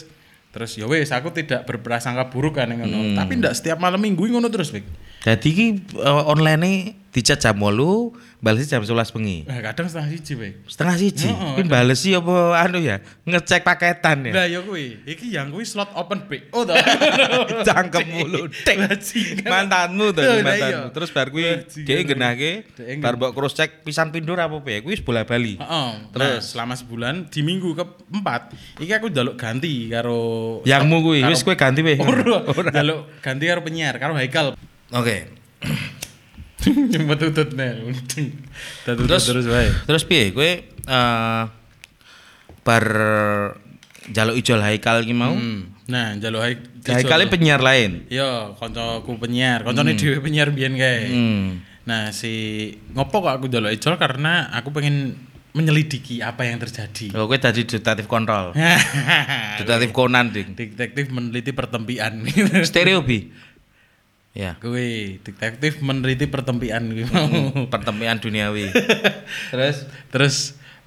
S2: Terus ya wes aku tidak berprasangka buruk kan yang
S1: Hmm.
S2: ngono. Tapi ndak setiap malam minggu ngono terus, Bik.
S1: Dadi iki eh, online dicat jam 8, balesi jam 11 bengi.
S2: Nah, kadang setengah siji, Bik.
S1: Setengah siji. Kuwi
S2: Heeh,
S1: balesi apa anu ya? Ngecek paketan ya.
S2: Lah ya kuwi, iki yang kuwi slot open PO to.
S1: Cangkem mulu. Tek.
S2: Bajingan.
S1: Mantanmu tuh
S2: Lah, lah, iya.
S1: mantanmu. Terus bar kuwi
S2: Bajingan.
S1: dhek genahke
S2: Dhek
S1: bar mbok cross check pisan pindur apa piye? Kuwi wis bola-bali.
S2: Heeh. Terus
S1: Terus?
S2: selama sebulan di minggu keempat, iki aku njaluk ganti karo
S1: Yangmu kuwi wis kowe ganti weh.
S2: Ora, njaluk ganti karo penyiar, karo Haikal.
S1: Oke.
S2: Nyempet tututne. Terus
S1: Terus-
S2: terus wae.
S1: Terus piye kowe eh bar jaluk ijol Haikal iki mau?
S2: Nah, njaluk Haik.
S1: Haikalnya penyiar lain.
S2: Yo, koncoku penyiar, koncone dhewe penyiar biyen kae.
S1: Hmm.
S2: Nah, si ngopo kok aku njaluk Ejol karena aku pengen menyelidiki apa yang terjadi.
S1: Kalau gue tadi detektif kontrol, detektif Conan ding.
S2: detektif meneliti pertempian
S1: Stereo bi. Ya.
S2: gue detektif meneliti pertempian gue mau
S1: Hmm. Pertempuran duniawi. Terus
S2: terus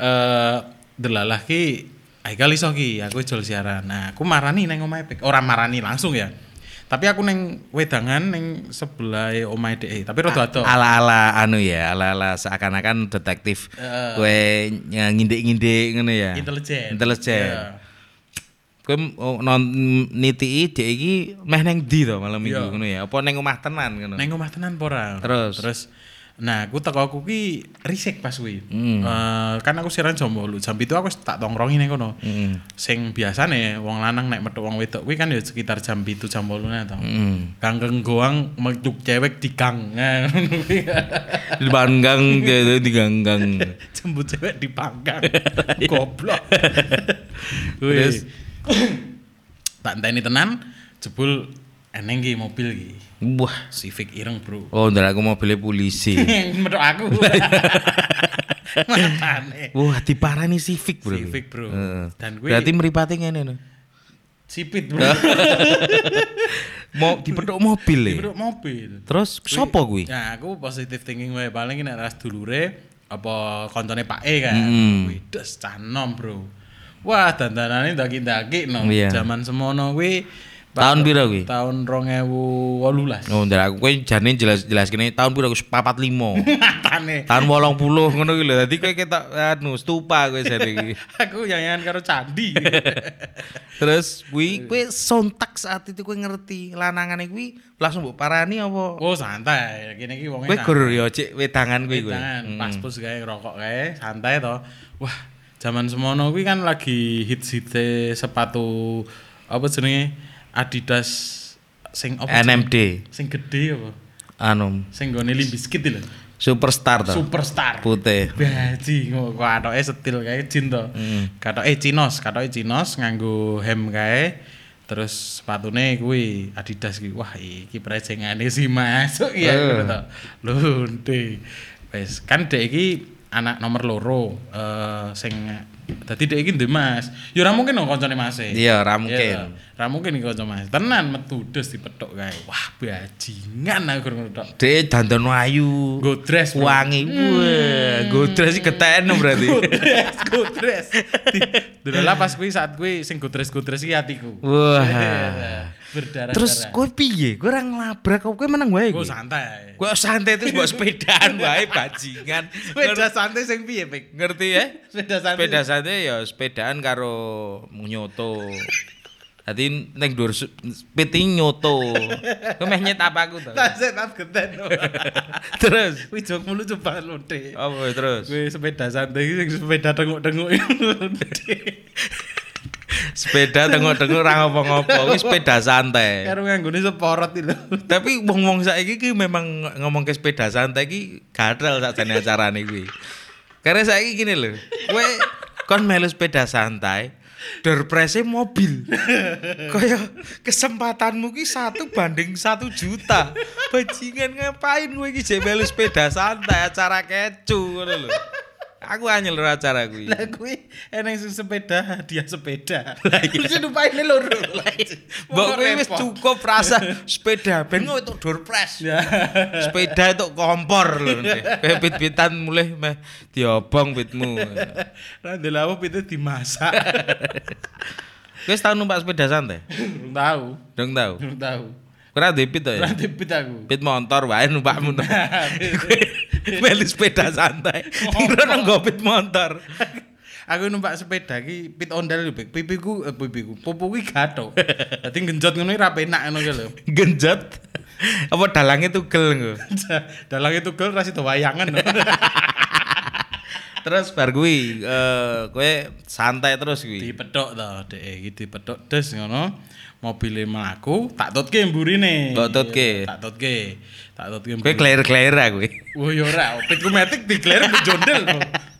S2: eh delalah ki Aikal iso ki aku jual siaran nah aku marani neng omah Epik orang marani langsung ya tapi aku neng wedangan neng sebelah e omah DE tapi rada ado
S1: Ah. ala-ala anu ya, ala-ala seakan-akan detektif.
S2: Heeh.
S1: Gue ny- ngindik-ngindik ngono ya.
S2: Eh, intelijen
S1: Intelijen.
S2: Iya.
S1: Kowe m- oh, non nitiki dhek iki meh neng ndi to malam minggu
S2: Iya.
S1: ngono ya. Apa neng omah tenan ngono?
S2: neng omah tenan pora
S1: Terus?
S2: terus Nah, aku teko aku ki risik pas kuwi. Eh, kan aku siaran jam 8. Jam itu aku wis tak tongkrongi ning kono. Sing biasane wong lanang nek metu wong wedok kuwi kan ya sekitar jam 7 jam 8 ne to. Kangkeng goang metu cewek di gang. Nah, ngono kuwi.
S1: Di panggang gitu, di ganggang.
S2: Jemput cewek di panggang. Goblok.
S1: Terus?
S2: Terus tak enteni tenan jebul eneng ki mobil ki.
S1: Wah.
S2: Civic ireng, Bro.
S1: Oh, ntar aku mau pilih polisi.
S2: Metu aku. Matane.
S1: Wah, diparani Civic, Bro.
S2: Civic, Bro.
S1: Heeh.
S2: Dan kuwi-
S1: Berarti meripati ngene no.
S2: Sipit bro.
S1: Mau dipethuk mobil ya.
S2: Ibruk mobil.
S1: Terus sopo kuwi?
S2: Nah, aku positive thinking wae paling nek ras dulure apa koncone Pak E kan.
S1: Mm-mm.
S2: Wih, des canom, Bro. Wah, dandanane ndaki-ndaki no.
S1: Iya.
S2: Zaman semono kuwi
S1: Tahun piro kuwi?
S2: tahun 2018.
S1: Oh, ntar aku kowe jane jelas-jelas kene tahun piro aku 45.
S2: Matane.
S1: tahun 80 ngono kuwi lho. Dadi kowe ketok anu stupa kowe jane iki.
S2: Aku jangan karo candi.
S1: Terus kuwi kowe sontak saat itu kowe ngerti lanangane kuwi langsung mbok parani apa?
S2: oh, santai. Kene iki wonge
S1: Kowe
S2: santai.
S1: gur yo cek wedangan kuwi kowe.
S2: Tangan, pas pus kae rokok kae, santai to. Wah, zaman semono kuwi kan lagi hits-hits e sepatu apa jenenge? Adidas sing apa? jenenge?
S1: NMD
S2: Sing gede apa?
S1: anu
S2: Sing gone Limp Bizkit iki lho.
S1: superstar to.
S2: Superstar.
S1: Putih.
S2: Baji kok katoke setil kae jin to.
S1: Hmm.
S2: Katoke Cinos, katoke Cinos nganggo hem kae. Terus sepatune kuwi Adidas kuwi. Wah, iki prejengane sih masuk ya
S1: Eh.
S2: ngono to. Lunte. Wes, kan dek iki anak nomor loro eh sing dadi dek iki ndek Mas. Ya ora mungkin dong koncone Mas. e.
S1: Iya, ora mungkin.
S2: Iya, Ora mungkin iki koncone Mas. Tenan metu des dipethuk kae. Wah, bajingan aku ngono tok.
S1: Dek dandan ayu.
S2: Go dress, bro.
S1: wangi. Wah, godres iki keteken berarti.
S2: Godres, godres. Dulu pas kuwi saat kuwi sing godres godres iki hatiku.
S1: Wah.
S2: Berdarah.
S1: Terus kowe piye? Kowe ora ngelabrak kok kowe menang wae
S2: gue
S1: kowe.
S2: Oh, santai.
S1: Kowe santai terus mbok sepedaan wae bajingan.
S2: Sepeda santai sing piye, Pik?
S1: Ngerti ya?
S2: Sepeda santai.
S1: Sepeda santai ya sepedaan karo nyoto. Tadi neng dur piti nyoto. Kowe meh nyet apa aku to?
S2: Tasik tas geten.
S1: Terus
S2: Kuwi jokmu lucu banget lho, Dik.
S1: apa kowe terus?
S2: Kuwi sepeda santai iki sing sepeda tenguk-tenguk iki lho, Dik.
S1: Sepeda tengok-tengok ora ngopo-ngopo. Wis sepeda santai.
S2: Karo nganggone seporot iki lho.
S1: Tapi wong-wong saiki ki memang ngomong ke sepeda santai ki gatel sakjane acarane kuwi. Karena saiki gini lho, kowe kon melu sepeda santai, dorprese mobil. Kaya kesempatanmu ki satu banding satu juta. Bajingan ngapain kowe ki jek melu sepeda santai acara kecu ngono lho. Aku anyel ora acara kuwi.
S2: Lah kuwi eneng sing sepeda hadiah sepeda. Kuwi sing numpaine loro.
S1: Mbok kowe wis cukup rasa sepeda ben kok entuk dorpres. sepeda itu kompor lho Nek. kayak pit-pitan mulai meh diobong pitmu
S2: Randelawo pitu dimasak.
S1: wis tau numpak sepeda santai
S2: Belum tahu,
S1: dong tau
S2: belum tahu.
S1: kurang di pit to ya
S2: Berarti pit aku.
S1: pit motor wae numpakmu to melu sepeda santai kira nang nggo pit motor
S2: aku numpak sepeda ki pit ondel lho, Bek. Pipiku eh, pipiku, pupu ki gathok. Dadi genjot ngono ki ra penak ngono ki lho.
S1: genjot apa dalangnya tugel nggo
S2: Dalange tugel ra sido wayangan. lho.
S1: terus bar kuwi eh, kowe santai terus kuwi
S2: Dipethok to, Dek. Iki dipethok des ngono. Mobile mlaku, tak tutke mburine.
S1: Mbok tutke.
S2: Tak tutke. Tak tutke
S1: kowe
S2: mburi.
S1: kleir-kleir aku
S2: Wah ya ora, pitku metik digler jondel.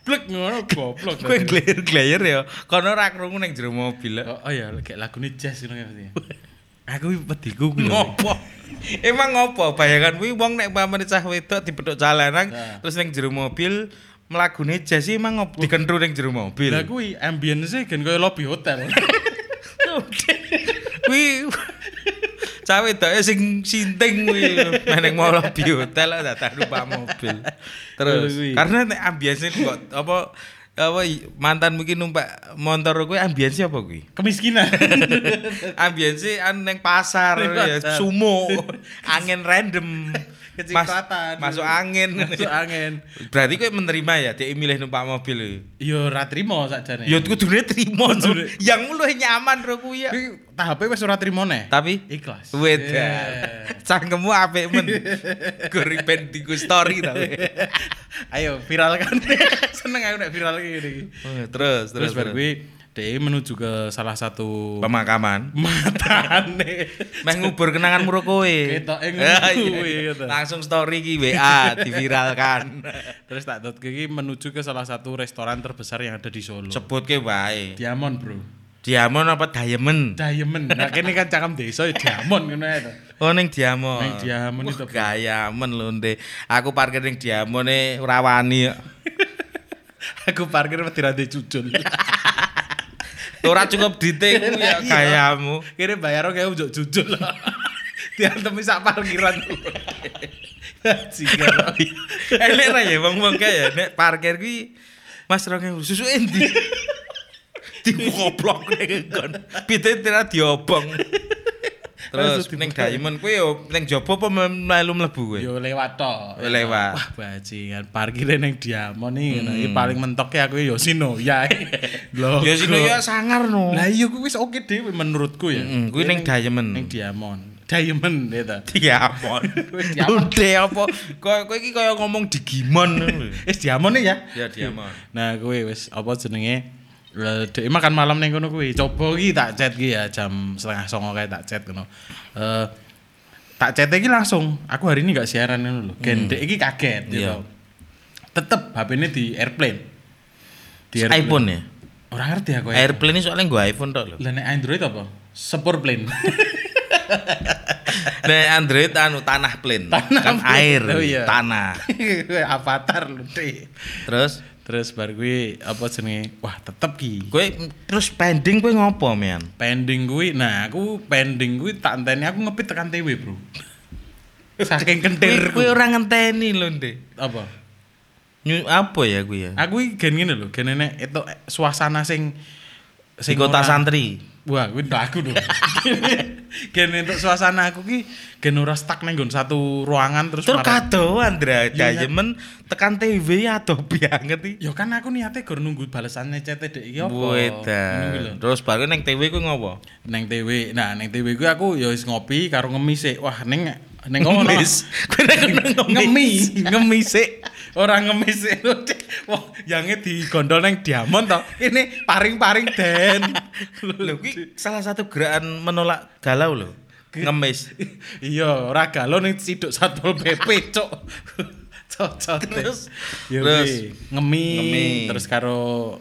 S2: Blek ngono goblok.
S1: kowe kleir-kleir ya kono ora krungu ning jero mobil
S2: Oh, oh ya, kayak lagune jazz ngono kan mesti. Aku iki petiku kuwi. lho.
S1: ngopo emang ngopo bayangan kuwi wong nek pamane cah wedok dipethuk jalanan
S2: Nah.
S1: terus ning jero mobil mlagune jas iki emang ngopo dikentru ning jero
S2: Lah
S1: mobil
S2: kuwi ambience gen koyo lobby hotel.
S1: kuwi cah wedoke sing sinting kuwi meneng mau lobby hotel lah datang numpak mobil terus
S2: Kuwi.
S1: karena nek ambience kok apa apa mantan mungkin numpak motor kuwi ambience apa kuwi
S2: Kemiskinan.
S1: Ah, ambience an anu, neng pasar
S2: Neng
S1: ya
S2: pasar.
S1: sumo angin random
S2: Kecipratan.
S1: masuk angin
S2: Masuk angin.
S1: berarti kowe menerima ya dia milih numpak mobil ya
S2: Yo ra trimo sakjane.
S1: ya kudu terima
S2: Kudune.
S1: yang lu nyaman ro kuwi ya
S2: Kuwi tahapnya wis ora trimo neh.
S1: Tapi
S2: Ikhlas. Iya.
S1: Wedan. Cangkemmu apik men. Gori ben di story tapi.
S2: Ayo viral kan. Seneng aku nek viral kayak gini.
S1: Oh, terus terus,
S2: Terus
S1: terus.
S2: bar kuwi dhek menuju ke salah satu
S1: pemakaman.
S2: matane.
S1: Meh ngubur kenangan muro kowe.
S2: Ketok e
S1: Ah,
S2: ngono
S1: iya.
S2: kuwi, ketok.
S1: Langsung story ki WA diviralkan.
S2: Terus tak dot iki menuju ke salah satu restoran terbesar yang ada di Solo.
S1: Sebutke wae.
S2: Diamond, Bro.
S1: Diamond apa Diamond?
S2: Diamond. Nah, kene kan cakam desa ya Diamond ngono ae to.
S1: Oh ning Diamond.
S2: Ning Diamond
S1: Wah,
S2: itu, Bro.
S1: Gaya men lho Nde. Aku parkir ning Diamond e ora wani kok.
S2: Aku parkir mesti rada jujul.
S1: Ora cukup ditikmu ya gayamu.
S2: Kene bayar oke njuk jujul. Diantemi sak parkiran. Jika
S1: Elek Eh, ra ya wong-wong kaya nek parkir kuwi Mas Rongeng susu endi? Dikoplok ning kon. Pite tira diobong. Terus
S2: Langsung dibuka.
S1: ning Diamond kuwi yo ning jopo apa mel- melu mlebu kuwi?
S2: Yo lewat toh.
S1: Yo lewat.
S2: Wah bajingan parkire ning Diamond iki. Nah, iki paling mentoke aku yo Sinoya. Lho.
S1: Ya sino ya sangar no.
S2: Lah iya kuwi wis oke dhewe menurutku ya.
S1: Mm, kuwi ning Diamond.
S2: Ning Diamond. Diamond ya ta.
S1: Diamond.
S2: Kuwi Diamond.
S1: Ude apa? Kowe kowe iki kaya ngomong Digimon.
S2: Wis Diamond ya.
S1: Ya Diamond.
S2: Nah, kuwi wis apa jenenge? Eh, Dek makan malam ning kono kuwi. Coba iki tak chat iki ya jam setengah songo kae tak chat kono. Eh tak chat iki langsung. Aku hari ini gak siaran ngono lho. Gen dek iki
S1: Iya.
S2: kaget gitu. Tetep HP-ne di airplane.
S1: iPhone ya.
S2: Ora ngerti aku. ya.
S1: Airplane ini soalnya gue iPhone tok lho.
S2: Lah nek Android apa? Sepur plane.
S1: Nek Android anu tanah plane,
S2: Tanah
S1: kan
S2: plane.
S1: air,
S2: Oh iya.
S1: tanah.
S2: Avatar lho, Dek.
S1: Terus
S2: Terus bar kuwi apa jenenge? Wah, tetep ki.
S1: Kowe terus pending kowe ngopo, Mian?
S2: pending kuwi nah aku pending kuwi tak enteni aku ngepit tekan TV bro saking kentir
S1: Kowe ora ngenteni lho, Ndek.
S2: apa
S1: Nyu apa ya kuwi ya?
S2: aku iki gen ngene lho gen enek itu suasana sing
S1: Di kota
S2: ora-
S1: santri.
S2: wah kuwi ndak aku dong gen entuk suasana aku ki gen ora stuck neng nggon satu ruangan terus
S1: Terus
S2: marah-
S1: kadoan Andra
S2: Iya,
S1: Jayemen tekan TV ya adoh banget iki.
S2: Ya kan aku niate gur nunggu balesannya CT dek iki Ya apa. Nunggu lho.
S1: Wedan. Terus baru neng TV kowe ngopo?
S2: Neng TV. Nah, neng TV ku aku ya wis ngopi karo ngemis sik. Wah, neng neng kono.
S1: Ngemis. Kowe neng kono ngemis.
S2: ngemi ngemi sik ora ngemis sik lho Cik. wah yange digondol nang diamond to ini paring-paring den
S1: Lho kuwi salah satu gerakan menolak galau lho. Ngemis.
S2: iya ora galon ning siduk satpol PP cok cocok
S1: Terus?
S2: ya
S1: Terus?
S2: wis ngemi,
S1: Ngemi.
S2: terus karo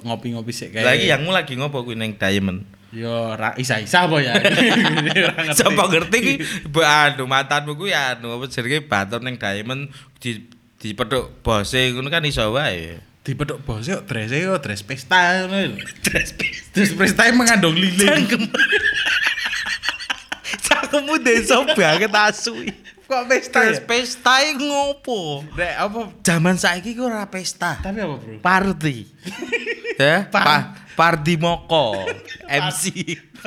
S2: ngopi-ngopi sik kae
S1: Lagi ya? yangmu lagi ngopo kuwi neng Diamond?
S2: yo ra isa-isa apa ya Ora ngerti.
S1: Sapa ngerti ki ba- anu mantanmu kuwi anu apa jenenge batur ning Diamond di dipethuk bose ngono kan iso wae.
S2: dipethuk bos yo dress yo dress pesta ngono lho dress pesta dress pesta yang mengandung lilin
S1: Cakemu desa banget asu.
S2: kok pesta
S1: Terus
S2: ya?
S1: pesta iki ngopo?
S2: Nek apa
S1: Zaman saiki ku ora pesta.
S2: tapi apa bro
S1: Party. Ya, pa Pardi Moko, MC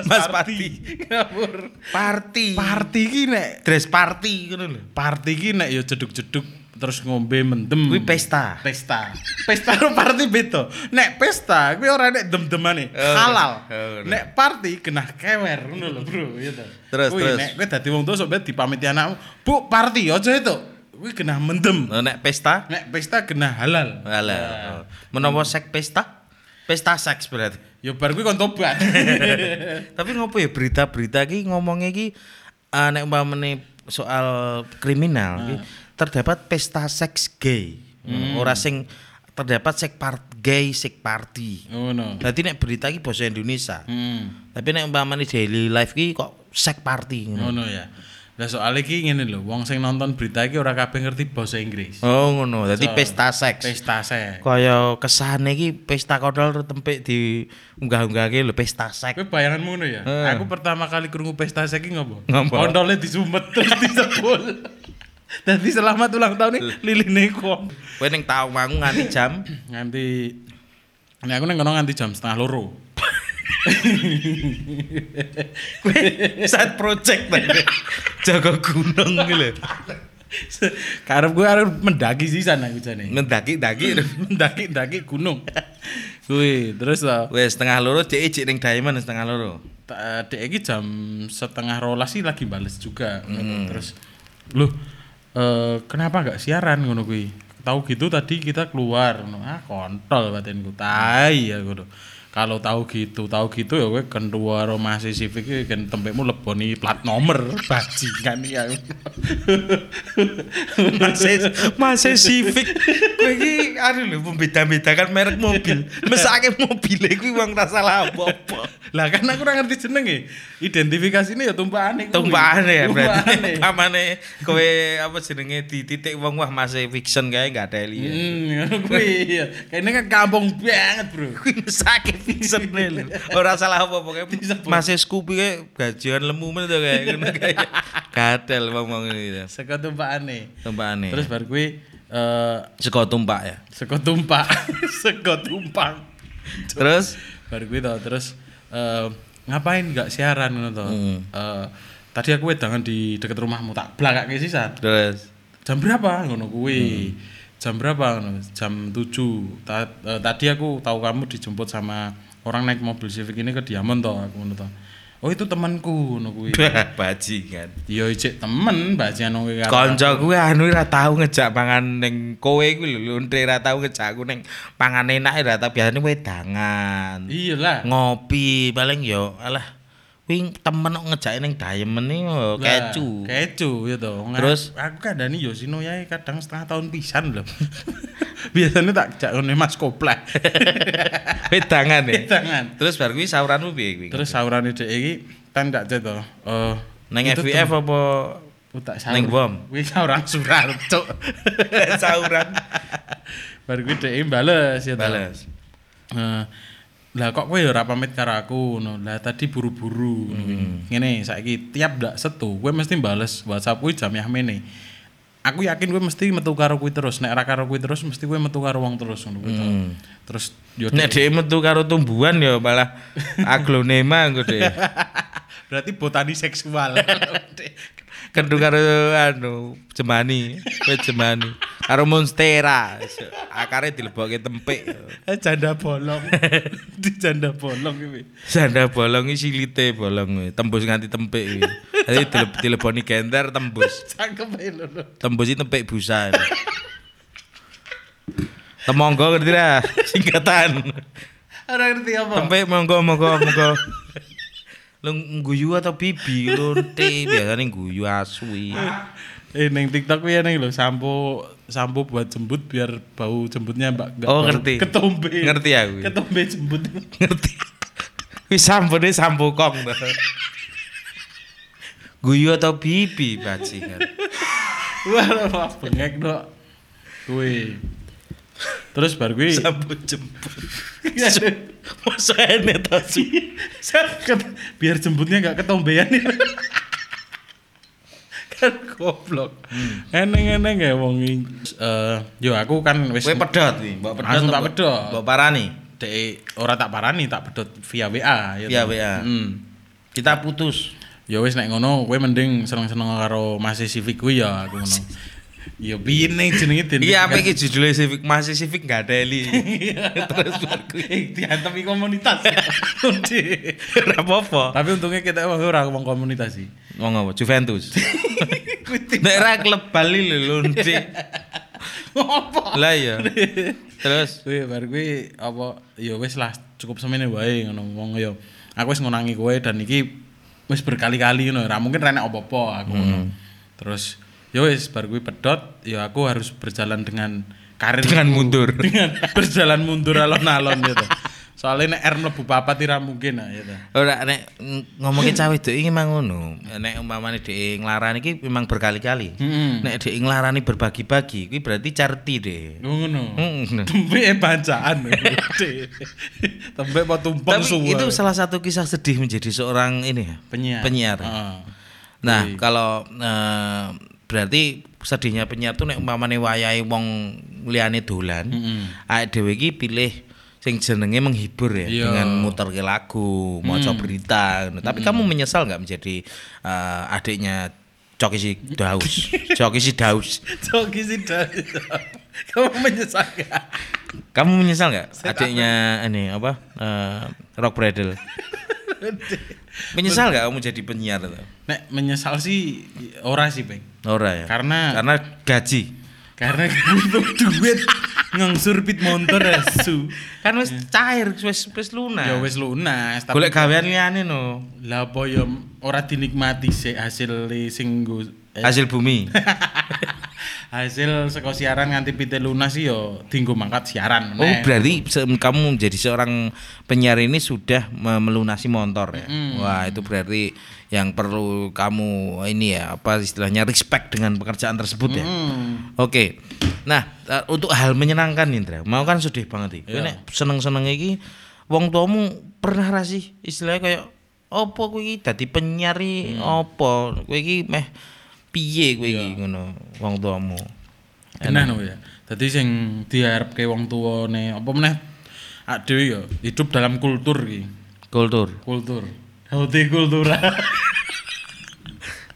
S1: Mas Pardi.
S2: ngawur
S1: Party.
S2: party ki nek
S1: Dress party ngono lho.
S2: party ki nek ya jeduk-jeduk terus ngombe mendem
S1: Kuwi pesta.
S2: pesta pesta karo party beda nek pesta kuwi ora nek dem-demane
S1: Oh,
S2: halal
S1: oh, bener.
S2: nek party genah kewer ngono lho bro iya to
S1: Terus,
S2: Kuwi
S1: terus.
S2: nek kowe dadi wong tuwa sampe dipamiti anakmu bu party aja itu kuwi genah mendem
S1: Lho, Oh, Nek pesta
S2: nek pesta genah halal
S1: Alah. Menawa sek pesta? Pesta seks berarti.
S2: ya bar kuwi kon tobat
S1: Tapi ngopo ya berita-berita ki ngomongnya ki eh, nek umpamane soal kriminal ki, terdapat pesta seks gay. Ora sing terdapat sek part gay, sek party.
S2: ngono
S1: Dadi nek berita ki bahasa Indonesia.
S2: hmm
S1: Tapi nek umpamane daily life ki kok sek party ngono.
S2: ngono ya lah soalnya ki ngene lho wong sing nonton berita iki ora kabeh ngerti bahasa Inggris
S1: Oh ngono, dadi
S2: So,
S1: pesta seks.
S2: pesta seks
S1: Kaya kesane ki pesta kodol terus tempek di unggah-unggahke lho pesta seks.
S2: Kowe bayanganmu ngono ya.
S1: Heeh.
S2: Aku pertama kali krungu pesta saiki ngopo?
S1: Ngopo?
S2: Kondolnya disumet terus disebul. Dadi selamat ulang tahun nih liline kok.
S1: Kowe ning tawangu nganti jam
S2: Nganti Nek aku neng kono nganti jam setengah loro.
S1: saat project tadi jaga gunung gitu lho. Hmm.
S2: Karep gue harus mendaki sih sana aku jane.
S1: mendaki daki
S2: mendaki-daki gunung. Kuwi terus ta.
S1: Wes setengah loro cek cek ning Diamond setengah loro.
S2: ta- Dek iki jam setengah rolas sih lagi bales juga.
S1: Hmm.
S2: Terus loh eh, kenapa nggak siaran ngono kuwi? Tahu gitu tadi kita keluar ngono. Ah kontol batinku. Tai ya ngono. Kalau tahu gitu, tahu gitu ya kowe keluar rumah Civic iki kan tempekmu leboni plat nomor bajingan ya.
S1: Masih masih Civic. Kowe iki aduh lho membeda-bedakan merek mobil. Mesake mobile kuwi wong tak salah apa-apa.
S2: lah kan aku ora ngerti jenenge. Identifikasi ini ya tumpakane. kuwi.
S1: Tumpakane ya berarti.
S2: Tumpakane.
S1: Pamane kowe apa jenenge di titik wong wah masih fiction kae enggak ada E." li.
S2: Hmm, kuwi ya. Kayaknya kan kampung banget, Bro.
S1: Kuwi mesake fiction ne lho. Ora salah apa-apa kae. Masih Scoopy kae gajian lemu men to kae. Ngono kae. Gatel wong-wong ngene.
S2: Seko tumpakane.
S1: Tumpakane.
S2: Terus bar kuwi eh
S1: Seko tumpak ya.
S2: seko tumpak, seko tumpang.
S1: Terus
S2: Bar kuwi to terus eh ngapain nggak siaran ngono to? Eh, tadi aku wedangan di deket rumahmu tak blakake sisan.
S1: terus
S2: jam berapa ngono kuwi jam berapa ngono jam 7 Ta- eh, tadi aku tahu kamu dijemput sama orang naik mobil Civic ini ke Diamond toh aku ngono toh oh itu temanku ngono kuwi
S1: bajingan.
S2: iya cek temen bajingan wong iki karo-
S1: kan. Kanca kuwi anu ora tau ngejak pangan ning kowe kuwi lho lontre ora tau ngejak aku ning pangan enak ora tau biasane
S2: Iya.
S1: wedangan.
S2: iyalah
S1: Ngopi paling yo alah kuwi temen kok ngejake ning Diamond iki yo
S2: Lah,
S1: kecu.
S2: kecu ya toh Nga-
S1: Terus?
S2: aku kandani Yoshino ya kadang setengah tahun pisan loh biasanya tak jak ngene Mas Koplah
S1: Wedangan ya.
S2: tangan
S1: Terus bar kuwi sauranmu piye kuwi?
S2: terus saurane dek iki kan tak cek toh eh
S1: Neng
S2: itu tem-
S1: FVF apa
S2: Oh, tak
S1: Neng bom.
S2: Kuwi orang Surarto.
S1: sauran?
S2: Baru kuwi dhek bales ya. toh.
S1: Bales.
S2: Eh, lah kok kowe ya ora pamit karo aku ngono. Lah tadi buru-buru ngono kuwi. Ngene saiki tiap ndak setu kowe mesti bales WhatsApp kuwi jam yah mene. Aku yakin kowe mesti metu karo kuwi terus. Nek ora karo kuwi terus mesti kowe metu karo wong terus ngono kuwi. toh. Terus
S1: Mm.
S2: yo
S1: Hmm. Nek dhek metu karo tumbuhan yo malah aglonema engko dhek.
S2: berarti botani seksual.
S1: Kendu karo anu jemani, wit jemani. Karo monstera. Akare dilebokke tempek.
S2: Eh, janda bolong. Di janda bolong kuwi.
S1: Sanda bolong iki silite bolong kuwi, tembus nganti tempek kuwi. Dadi dile- dileboni gender tembus.
S2: Cakep ae lho. lho.
S1: Tembus iki tempek busa. Temonggo ngerti lah singkatan.
S2: Ora ngerti apa.
S1: Tempek monggo monggo monggo. Lu ngguyu atau bibi lonte biasanya ngguyu asu iki.
S2: Eh neng TikTok ya neng lo sampo sampo buat jembut biar bau jembutnya mbak nggak
S1: Oh,
S2: bau.
S1: ngerti.
S2: ketombe
S1: Ngerti aku.
S2: ketombe jembut
S1: ngerti wis sampune sampo kong to. guyu atau bibi bajingan
S2: wah wah bengek dok kui terus baru kui
S1: sampo jemput masa enek ta sih
S2: Ket- biar jembutnya nggak ketombean ya kan goblok
S1: Hmm.
S2: eneng eneng ya wong ini. Eh, yo aku kan wis
S1: kowe pedot iki mbok pedot
S2: Langsung tak
S1: mbok-
S2: pedot.
S1: mbok parani
S2: dek ora tak parani tak pedot via WA ya
S1: Via
S2: toh.
S1: WA.
S2: Mm.
S1: Iya, kita putus
S2: Ya wis nek ngono kowe mending seneng-seneng karo Mas Civic kuwi ya aku ngono. Ya piye nih jenenge den.
S1: iki Iya, apa iki judule Civic masih Civic gak ada eli
S2: Terus baru diantem di Eh, komunitas. Undi.
S1: ora apa-apa
S2: Tapi untungnya kita emang ora ngomong komunitas sih.
S1: wong apa Juventus nek ra klub Bali lho lonte
S2: Ngopo?
S1: lah ya terus
S2: Kuwi bar kuwi apa ya wis lah cukup semene wae ngono wong ya. Aku wis ngonangi kowe dan iki wis berkali-kali ngono. Ora mungkin renek apa-apa aku ngono.
S1: Hmm.
S2: Terus ya wis bar kuwi pedot ya aku harus berjalan dengan karir
S1: dengan mundur
S2: dengan berjalan mundur alon-alon gitu. Soalnya nek R mlebu papat tidak mungkin lah gitu.
S1: Ora nek ng- ngomongke cah wedok iki memang ngono. Nek umpamane dhek nglarani iki memang berkali-kali.
S2: Heeh.
S1: Nek dhek nglarani berbagi-bagi kuwi berarti charity deh.
S2: Ngono.
S1: Mm.
S2: Tempe eh, bancaan. gede. Tempe mau tumpeng
S1: Tapi
S2: suwe.
S1: itu salah satu kisah sedih menjadi seorang ini ya.
S2: penyiar. Ah.
S1: penyiar.
S2: Heeh.
S1: Nah, kalau eh, berarti sedihnya penyiar tuh nek umpamane wayahe wong liyane dolan,
S2: Mm-mm.
S1: Hmm. awake dhewe iki pilih sing jenenge menghibur ya
S2: Iya.
S1: dengan muter ke lagu, maca berita. gitu. Tapi kamu menyesal nggak menjadi eh, adiknya Coki si Daus, Coki si Daus.
S2: Coki sih dah. Kamu menyesal gak?
S1: Kamu menyesal nggak adiknya ini apa eh, Rock Bradle? Menyesal nggak kamu jadi penyiar? tuh?
S2: Nek menyesal sih ora sih, Bang.
S1: Ora ya.
S2: Karena-
S1: karena gaji.
S2: Karena butuh duit ngengsur pit motor asu.
S1: Kan wis cair, wis wis lunas.
S2: Ya wis lunas, tapi
S1: Golek gawean liyane no.
S2: lah apa ya ora dinikmati sih hasil sing nggo- eh,
S1: Hasil bumi.
S2: hasil saka siaran nganti pite lunas sih yo dinggo mangkat siaran
S1: Oh,
S2: meneh.
S1: berarti se- kamu menjadi seorang penyiar ini sudah me- melunasi motor ya. Wah, itu berarti yang perlu kamu ini ya, apa istilahnya respect dengan pekerjaan tersebut ya.
S2: Hmm.
S1: Oke. Nah, eh, untuk hal menyenangkan Indra, mau kan sedih banget iki. Kowe nek seneng-seneng iki wong tuamu pernah ra sih istilahnya kayak opo kowe iki dadi penyiar iki opo? Kowe iki meh piye kowe iki ngono wong tuamu.
S2: Enak no ya. Dadi sing diarepke wong tuwane apa meneh ak dhewe ya hidup dalam kultur iki.
S1: Kultur.
S2: Kultur. Hoti kultura.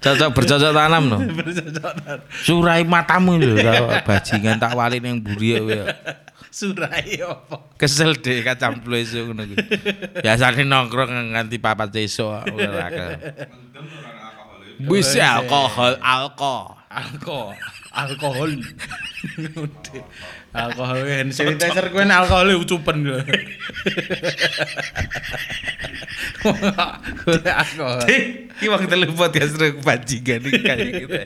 S1: Cocok bercocok tanam no.
S2: Bercocotan.
S1: Surai matamu lho kalau bajingan tak wali yang buri ya. kowe ya.
S2: Surai apa?
S1: Kesel deh kacamplu esuk ngono kuwi. Biasane nongkrong nganti papat esuk ora akeh. Wis alkohol, alkohol.
S2: Alko. Alkohol. Udah. alkohol hand sanitizer kuwi nek alkohol e ucupen kuwi. Kuwi alkohol.
S1: Iki wong telu podcast rek bajingan iki kaya gitu.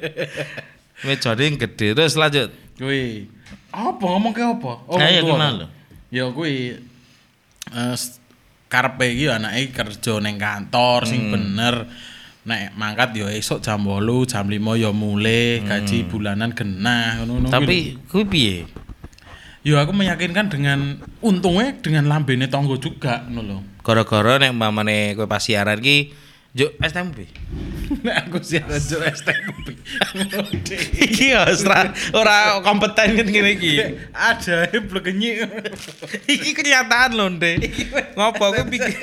S1: Mejane yang gede terus lanjut.
S2: Kuwi apa ngomong ke apa?
S1: Nah, ya
S2: tua.
S1: kenal lho.
S2: Ya kuwi eh s- karepe iki ya anake kerja ning kantor sing bener. Nek mangkat ya esuk jam 8, jam 5 ya mulai, gaji bulanan genah ngono-ngono. kuwi lho.
S1: Tapi kuwi piye?
S2: ya aku meyakinkan dengan untungnya dengan lambene tonggo juga ngono lho.
S1: Gara-gara nek mamane kowe pas siaran iki njuk STMB.
S2: Nek aku siaran jo STP.
S1: Iki ya ora ora kompeten kan ngene iki.
S2: Ada blekenyi.
S1: Iki kenyataan loh deh. Ngopo aku pikir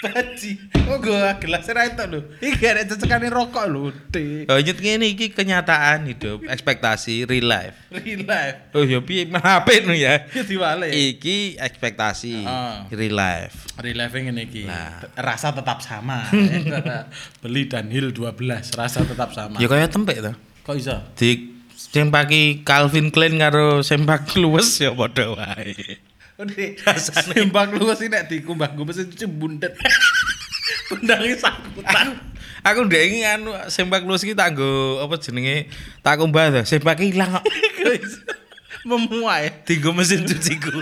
S2: Baji. Oh gua gelas ra entuk lho. Iki arek cecekane rokok lho. Dek.
S1: lanjut ngene iki kenyataan hidup, ekspektasi real life.
S2: Real life.
S1: Oh ya piye mape no ya.
S2: Ya diwale.
S1: Iki ekspektasi
S2: Ah.
S1: real life.
S2: Real life ngene iki. Rasa tetap sama. Eh, Beli dan Hill 12, rasa tetap sama.
S1: Ya kaya tempe to.
S2: Kok iso?
S1: Di sempaki Calvin Klein karo sempak luwes ya padha wae.
S2: Udah, sembang lu sih nek dikumbah gue mesti cembundet. Kundangi sakutan.
S1: Aku ndek iki anu sempak luwes iki tak nggo apa jenenge tak kumbah to. Sempak ilang kok.
S2: Memuai.
S1: Tinggo mesin cuciku.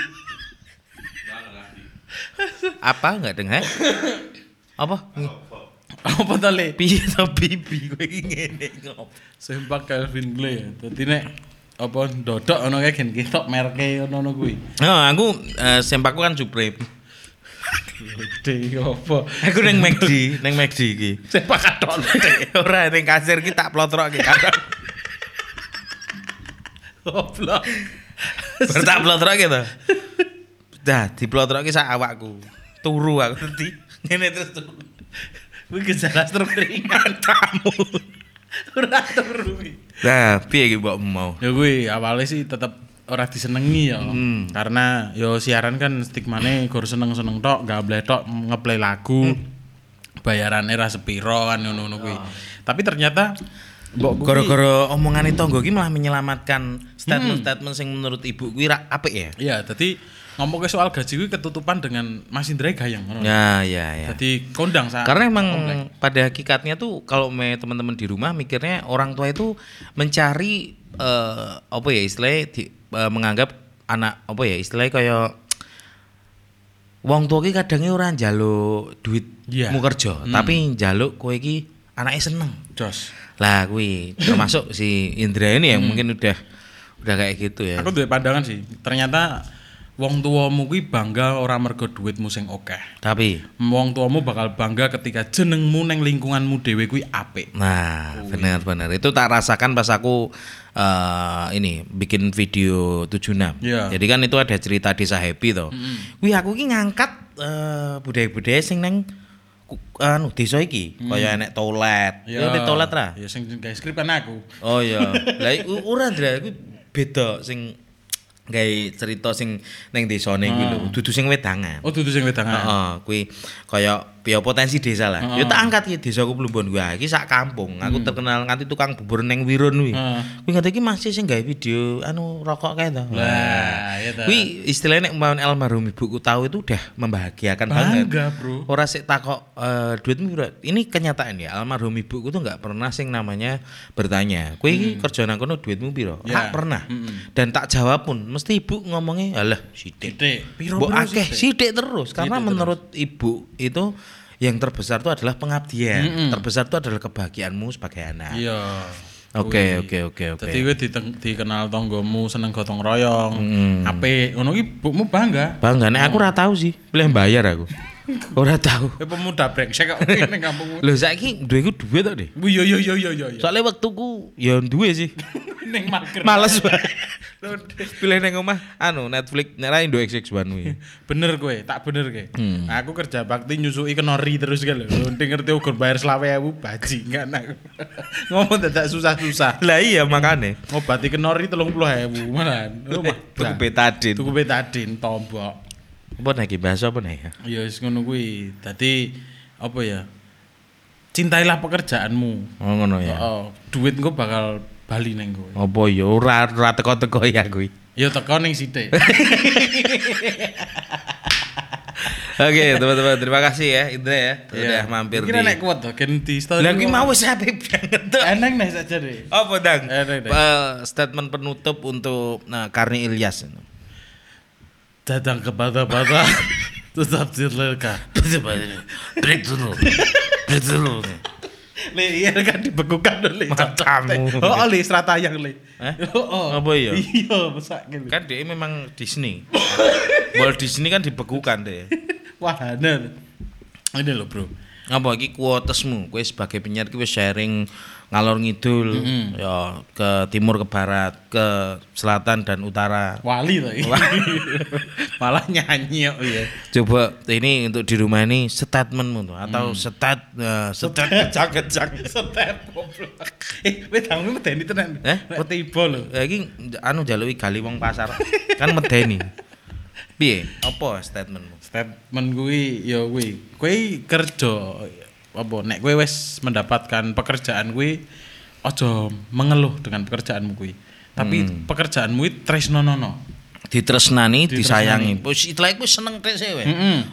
S1: Apa enggak dengar? Apa?
S2: Apa to le?
S1: Piye to bibi kowe iki ngene kok.
S2: Sempak Calvin Klein. Dadi nek apa ndodok ono kae gen ketok merke ono ono kuwi.
S1: Nah, aku eh, sempakku kan Supreme.
S2: Gede apa?
S1: Aku neng McD, neng McD iki.
S2: Sempak katok lho.
S1: Ora neng kasir iki tak plotrokke.
S2: Goblok.
S1: Bar tak plotrokke to. Dah, diplotrokke sak awakku. Turu aku nanti. Ngene terus turu.
S2: Kuwi gejala stroke ringan tamu. Ora turu kuwi.
S1: Nah, piye iki mbok mau?
S2: Ya kuwi awalnya sih tetep ora disenengi ya. Karena yo siaran kan stigmane gor seneng-seneng tok, gak boleh tok ngeplay lagu. Bayarannya ra sepiro kan ngono-ngono kuwi. Tapi ternyata mbok kuwi-
S1: Gara-gara omongane tonggo iki malah menyelamatkan statement-statement
S2: Hmm.
S1: sing menurut ibu kuwi ra apik ya.
S2: Iya, tadi ngomong ke soal gaji kuwi ketutupan dengan Mas Indra Gayang. ngono.
S1: Ya, ya, ya.
S2: Jadi kondang sa.
S1: Karena emang pada hakikatnya tuh kalau me teman-teman di rumah mikirnya orang tua itu mencari eh, apa ya istilahnya di- eh, menganggap anak apa ya istilahnya kayak wong tua ki kadangnya orang jaluk duit
S2: Iya.
S1: mau kerja tapi jaluk kowe ki anaknya seneng
S2: jos.
S1: lah kui termasuk si Indra ini
S2: Hmm.
S1: yang mungkin udah udah kayak gitu ya
S2: Aku duwe pandangan sih. Ternyata wong tuamu kuwi bangga ora mergo duitmu sing akeh.
S1: tapi
S2: Wong tuamu bakal bangga ketika jenengmu neng lingkunganmu dhewe kuwi apik.
S1: Nah, benar-benar itu tak rasakan pas aku eh, ini bikin video 76.
S2: Iya.
S1: Jadi kan itu ada cerita desa Happy toh. Wih, aku ki ngangkat eh, budaya-budaya sing neng ku- anu desa iki, kaya enek toilet. Ya di toilet ra.
S2: Ya sing gawe skrip kan aku.
S1: Oh iya. Lah iku ora Dra, iku beda sing Kayak cerita sing neng desane kuwi lho, dudu sing wedangan.
S2: Oh, dudu sing
S1: Heeh,
S2: wedangan.
S1: kuwi kaya ya potensi desa lah. Ya tak angkat iki desaku Plumbon kuwi. ah, Iki sak kampung. Aku terkenal nganti tukang bubur neng Wirun kuwi.
S2: Hmm. Heeh.
S1: Kuwi ngerti iki masih sing gawe video anu rokok kae to.
S2: Lah, ya ta.
S1: Oh, Kuwi istilahnya nek umpamane almarhum ibuku tahu itu udah membahagiakan banget.
S2: bangga, Bro.
S1: Ora sik takok eh, duitmu pira. Ini kenyataan ya, almarhum ibuku tuh nggak pernah sing namanya bertanya. Kowe iki kerja nang kono duitmu piro?
S2: Hmm. Ya.
S1: Tak pernah. Dan tak jawab pun mesti ibu ngomongnya, "Alah, sithik."
S2: Titik. Piro
S1: Mbok
S2: bro,
S1: akeh
S2: sithik?
S1: sithik terus karena menurut ibu itu yang terbesar itu adalah pengabdian. Terbesar itu adalah kebahagiaanmu sebagai anak.
S2: Iya.
S1: Oke, oke, oke, oke.
S2: Dadi kowe diteng- dikenal tonggomu seneng gotong royong, apik. Ngono ki bukmu bangga.
S1: Bangga nek aku ora tahu sih, pilih bayar aku. Ora tahu.
S2: Kowe pemuda brengsek kok kowe ning kampungmu.
S1: Lho saiki duitku duit tok, Dik.
S2: Bu yo yo yo yo yo. yo.
S1: Soalnya waktuku ya duwe sih.
S2: Ning mager.
S1: Males banget. Pilih nang omah anu Netflix nek ra Indo XX1 kuwi.
S2: Bener kowe, tak bener kowe.
S1: Hmm.
S2: Nah, Aku kerja bakti nyusui kenori terus kan lho. Lho, ndek ngerti ukur bayar selawe ewu bajingan aku. Ngomong dadak susah-susah.
S1: Lah iya makane.
S2: Ngobati kenori 30.000 malahan. Lho, mah.
S1: Tuku betadin.
S2: Tuku betadin tombok.
S1: Apa nek iki bahasa apa nek ya?
S2: Ya wis ngono kuwi. Dadi apa ya? Cintailah pekerjaanmu.
S1: Oh ngono
S2: Heeh.
S1: ya.
S2: duit engko bakal bali neng kowe.
S1: Apa ya ora ora teko-teko ya kuwi.
S2: Ya teko ning sithik.
S1: Oke, teman-teman terima kasih ya Indra ya.
S2: Iya.
S1: Udah mampir di.
S2: Kira nek kuat to gen di story.
S1: Lah iki mau wis apik banget tuh.
S2: eneng nek saja deh.
S1: Apa Dang?
S2: Eh, Dang, Dang.
S1: Oh, Eh, statement penutup untuk nah, Karni Ilyas.
S2: Datang ke bata-bata. Tetap di lelka.
S1: Break dulu. Break dulu.
S2: Le iya kan dibekukan dulu. le.
S1: Matamu.
S2: Oh, oh, le serata yang le.
S1: Eh?
S2: Oh,
S1: Apa iya?
S2: Iya, besar gitu.
S1: Kan dia memang Disney. Walt Disney kan dibekukan deh.
S2: Wahana. Ini loh, Bro.
S1: apa iki kuotesmu kowe sebagai penyiar kowe sharing ngalor ngidul ya ke timur ke barat ke selatan dan utara
S2: Wali lagi. Malah nyanyi oh iya.
S1: coba ini untuk di rumah ini statementmu tuh, atau
S2: Mm.
S1: stat eh, stat kejang-kejang
S2: Setep goblok. Eh, wedangmu medeni tenan.
S1: Eh?
S2: Nek tiba lho.
S1: Ya, iki anu jaluki gali wong pasar kan medeni piye apa statementmu
S2: Statement kuwi ya kuwi. Kuwi kerja apa nek kowe wis mendapatkan pekerjaan kuwi aja mengeluh dengan pekerjaanmu kuwi. Tapi pekerjaanmu itu tresno nono.
S1: ditresnani disayangi wis itlek kowe seneng tek sewe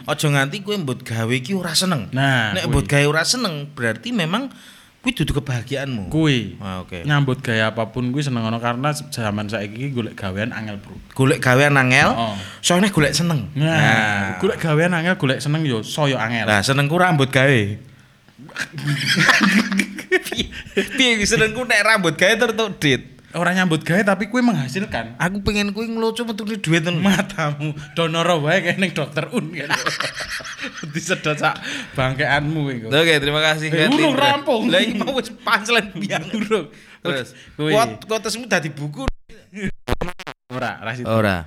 S1: aja nganti kowe mbut gawe iki ora seneng
S2: Nah,
S1: nek
S2: kuwi.
S1: mbut gawe ora seneng berarti memang kuwi dudu kebahagiaanmu
S2: Kuwi
S1: Ah, oke.
S2: nyambut gaya apapun kuwi seneng ono karena zaman saiki golek gawean angel, Bro.
S1: golek gawean angel,
S2: Oh.
S1: soalnya golek seneng.
S2: Nah, golek gawean angel golek seneng yo soyo angel.
S1: Lah senengku rambut gawe. Piye- Piye senengku nek rambut gawe tertuk dit.
S2: Orang nyambut gawe tapi kuwi menghasilkan.
S1: Aku pengen kuwi nglucu metu ni duit tenan.
S2: matamu donoro wae kayak neng dokter un kan disedot sak bangkeanmu engko
S1: Oke, terima kasih.
S2: Eh, urung
S1: Indra.
S2: rampung.
S1: Lah iki mau wis pancelen biang urung. Terus
S2: Kuwi.
S1: kuat kotesmu dadi buku.
S2: ora ora situ
S1: Ora.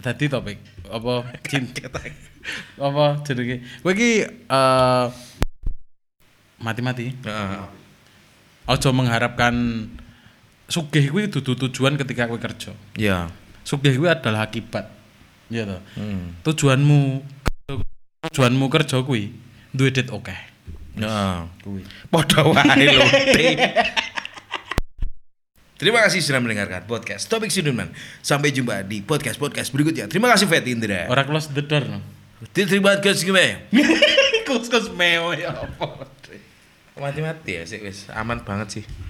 S2: dadi topik apa cinta apa jenenge kowe iki eh, mati-mati aja mengharapkan sugih kuwi dudu tujuan ketika kowe kerja
S1: Ya.
S2: sugih kuwi adalah akibat iya toh tujuanmu tujuanmu kerja kuwi duwe duit oke
S1: Heeh.
S2: kuwi
S1: Padha wae lho. Ti. Terima kasih sudah mendengarkan podcast Topik Sudirman. Sampai jumpa di podcast-podcast berikutnya. Terima kasih Fet Indra.
S2: ora close the door no
S1: Terima kasih gue.
S2: Kus-kus meo ya apa?
S1: Mati-mati ya sih wis. Aman banget sih.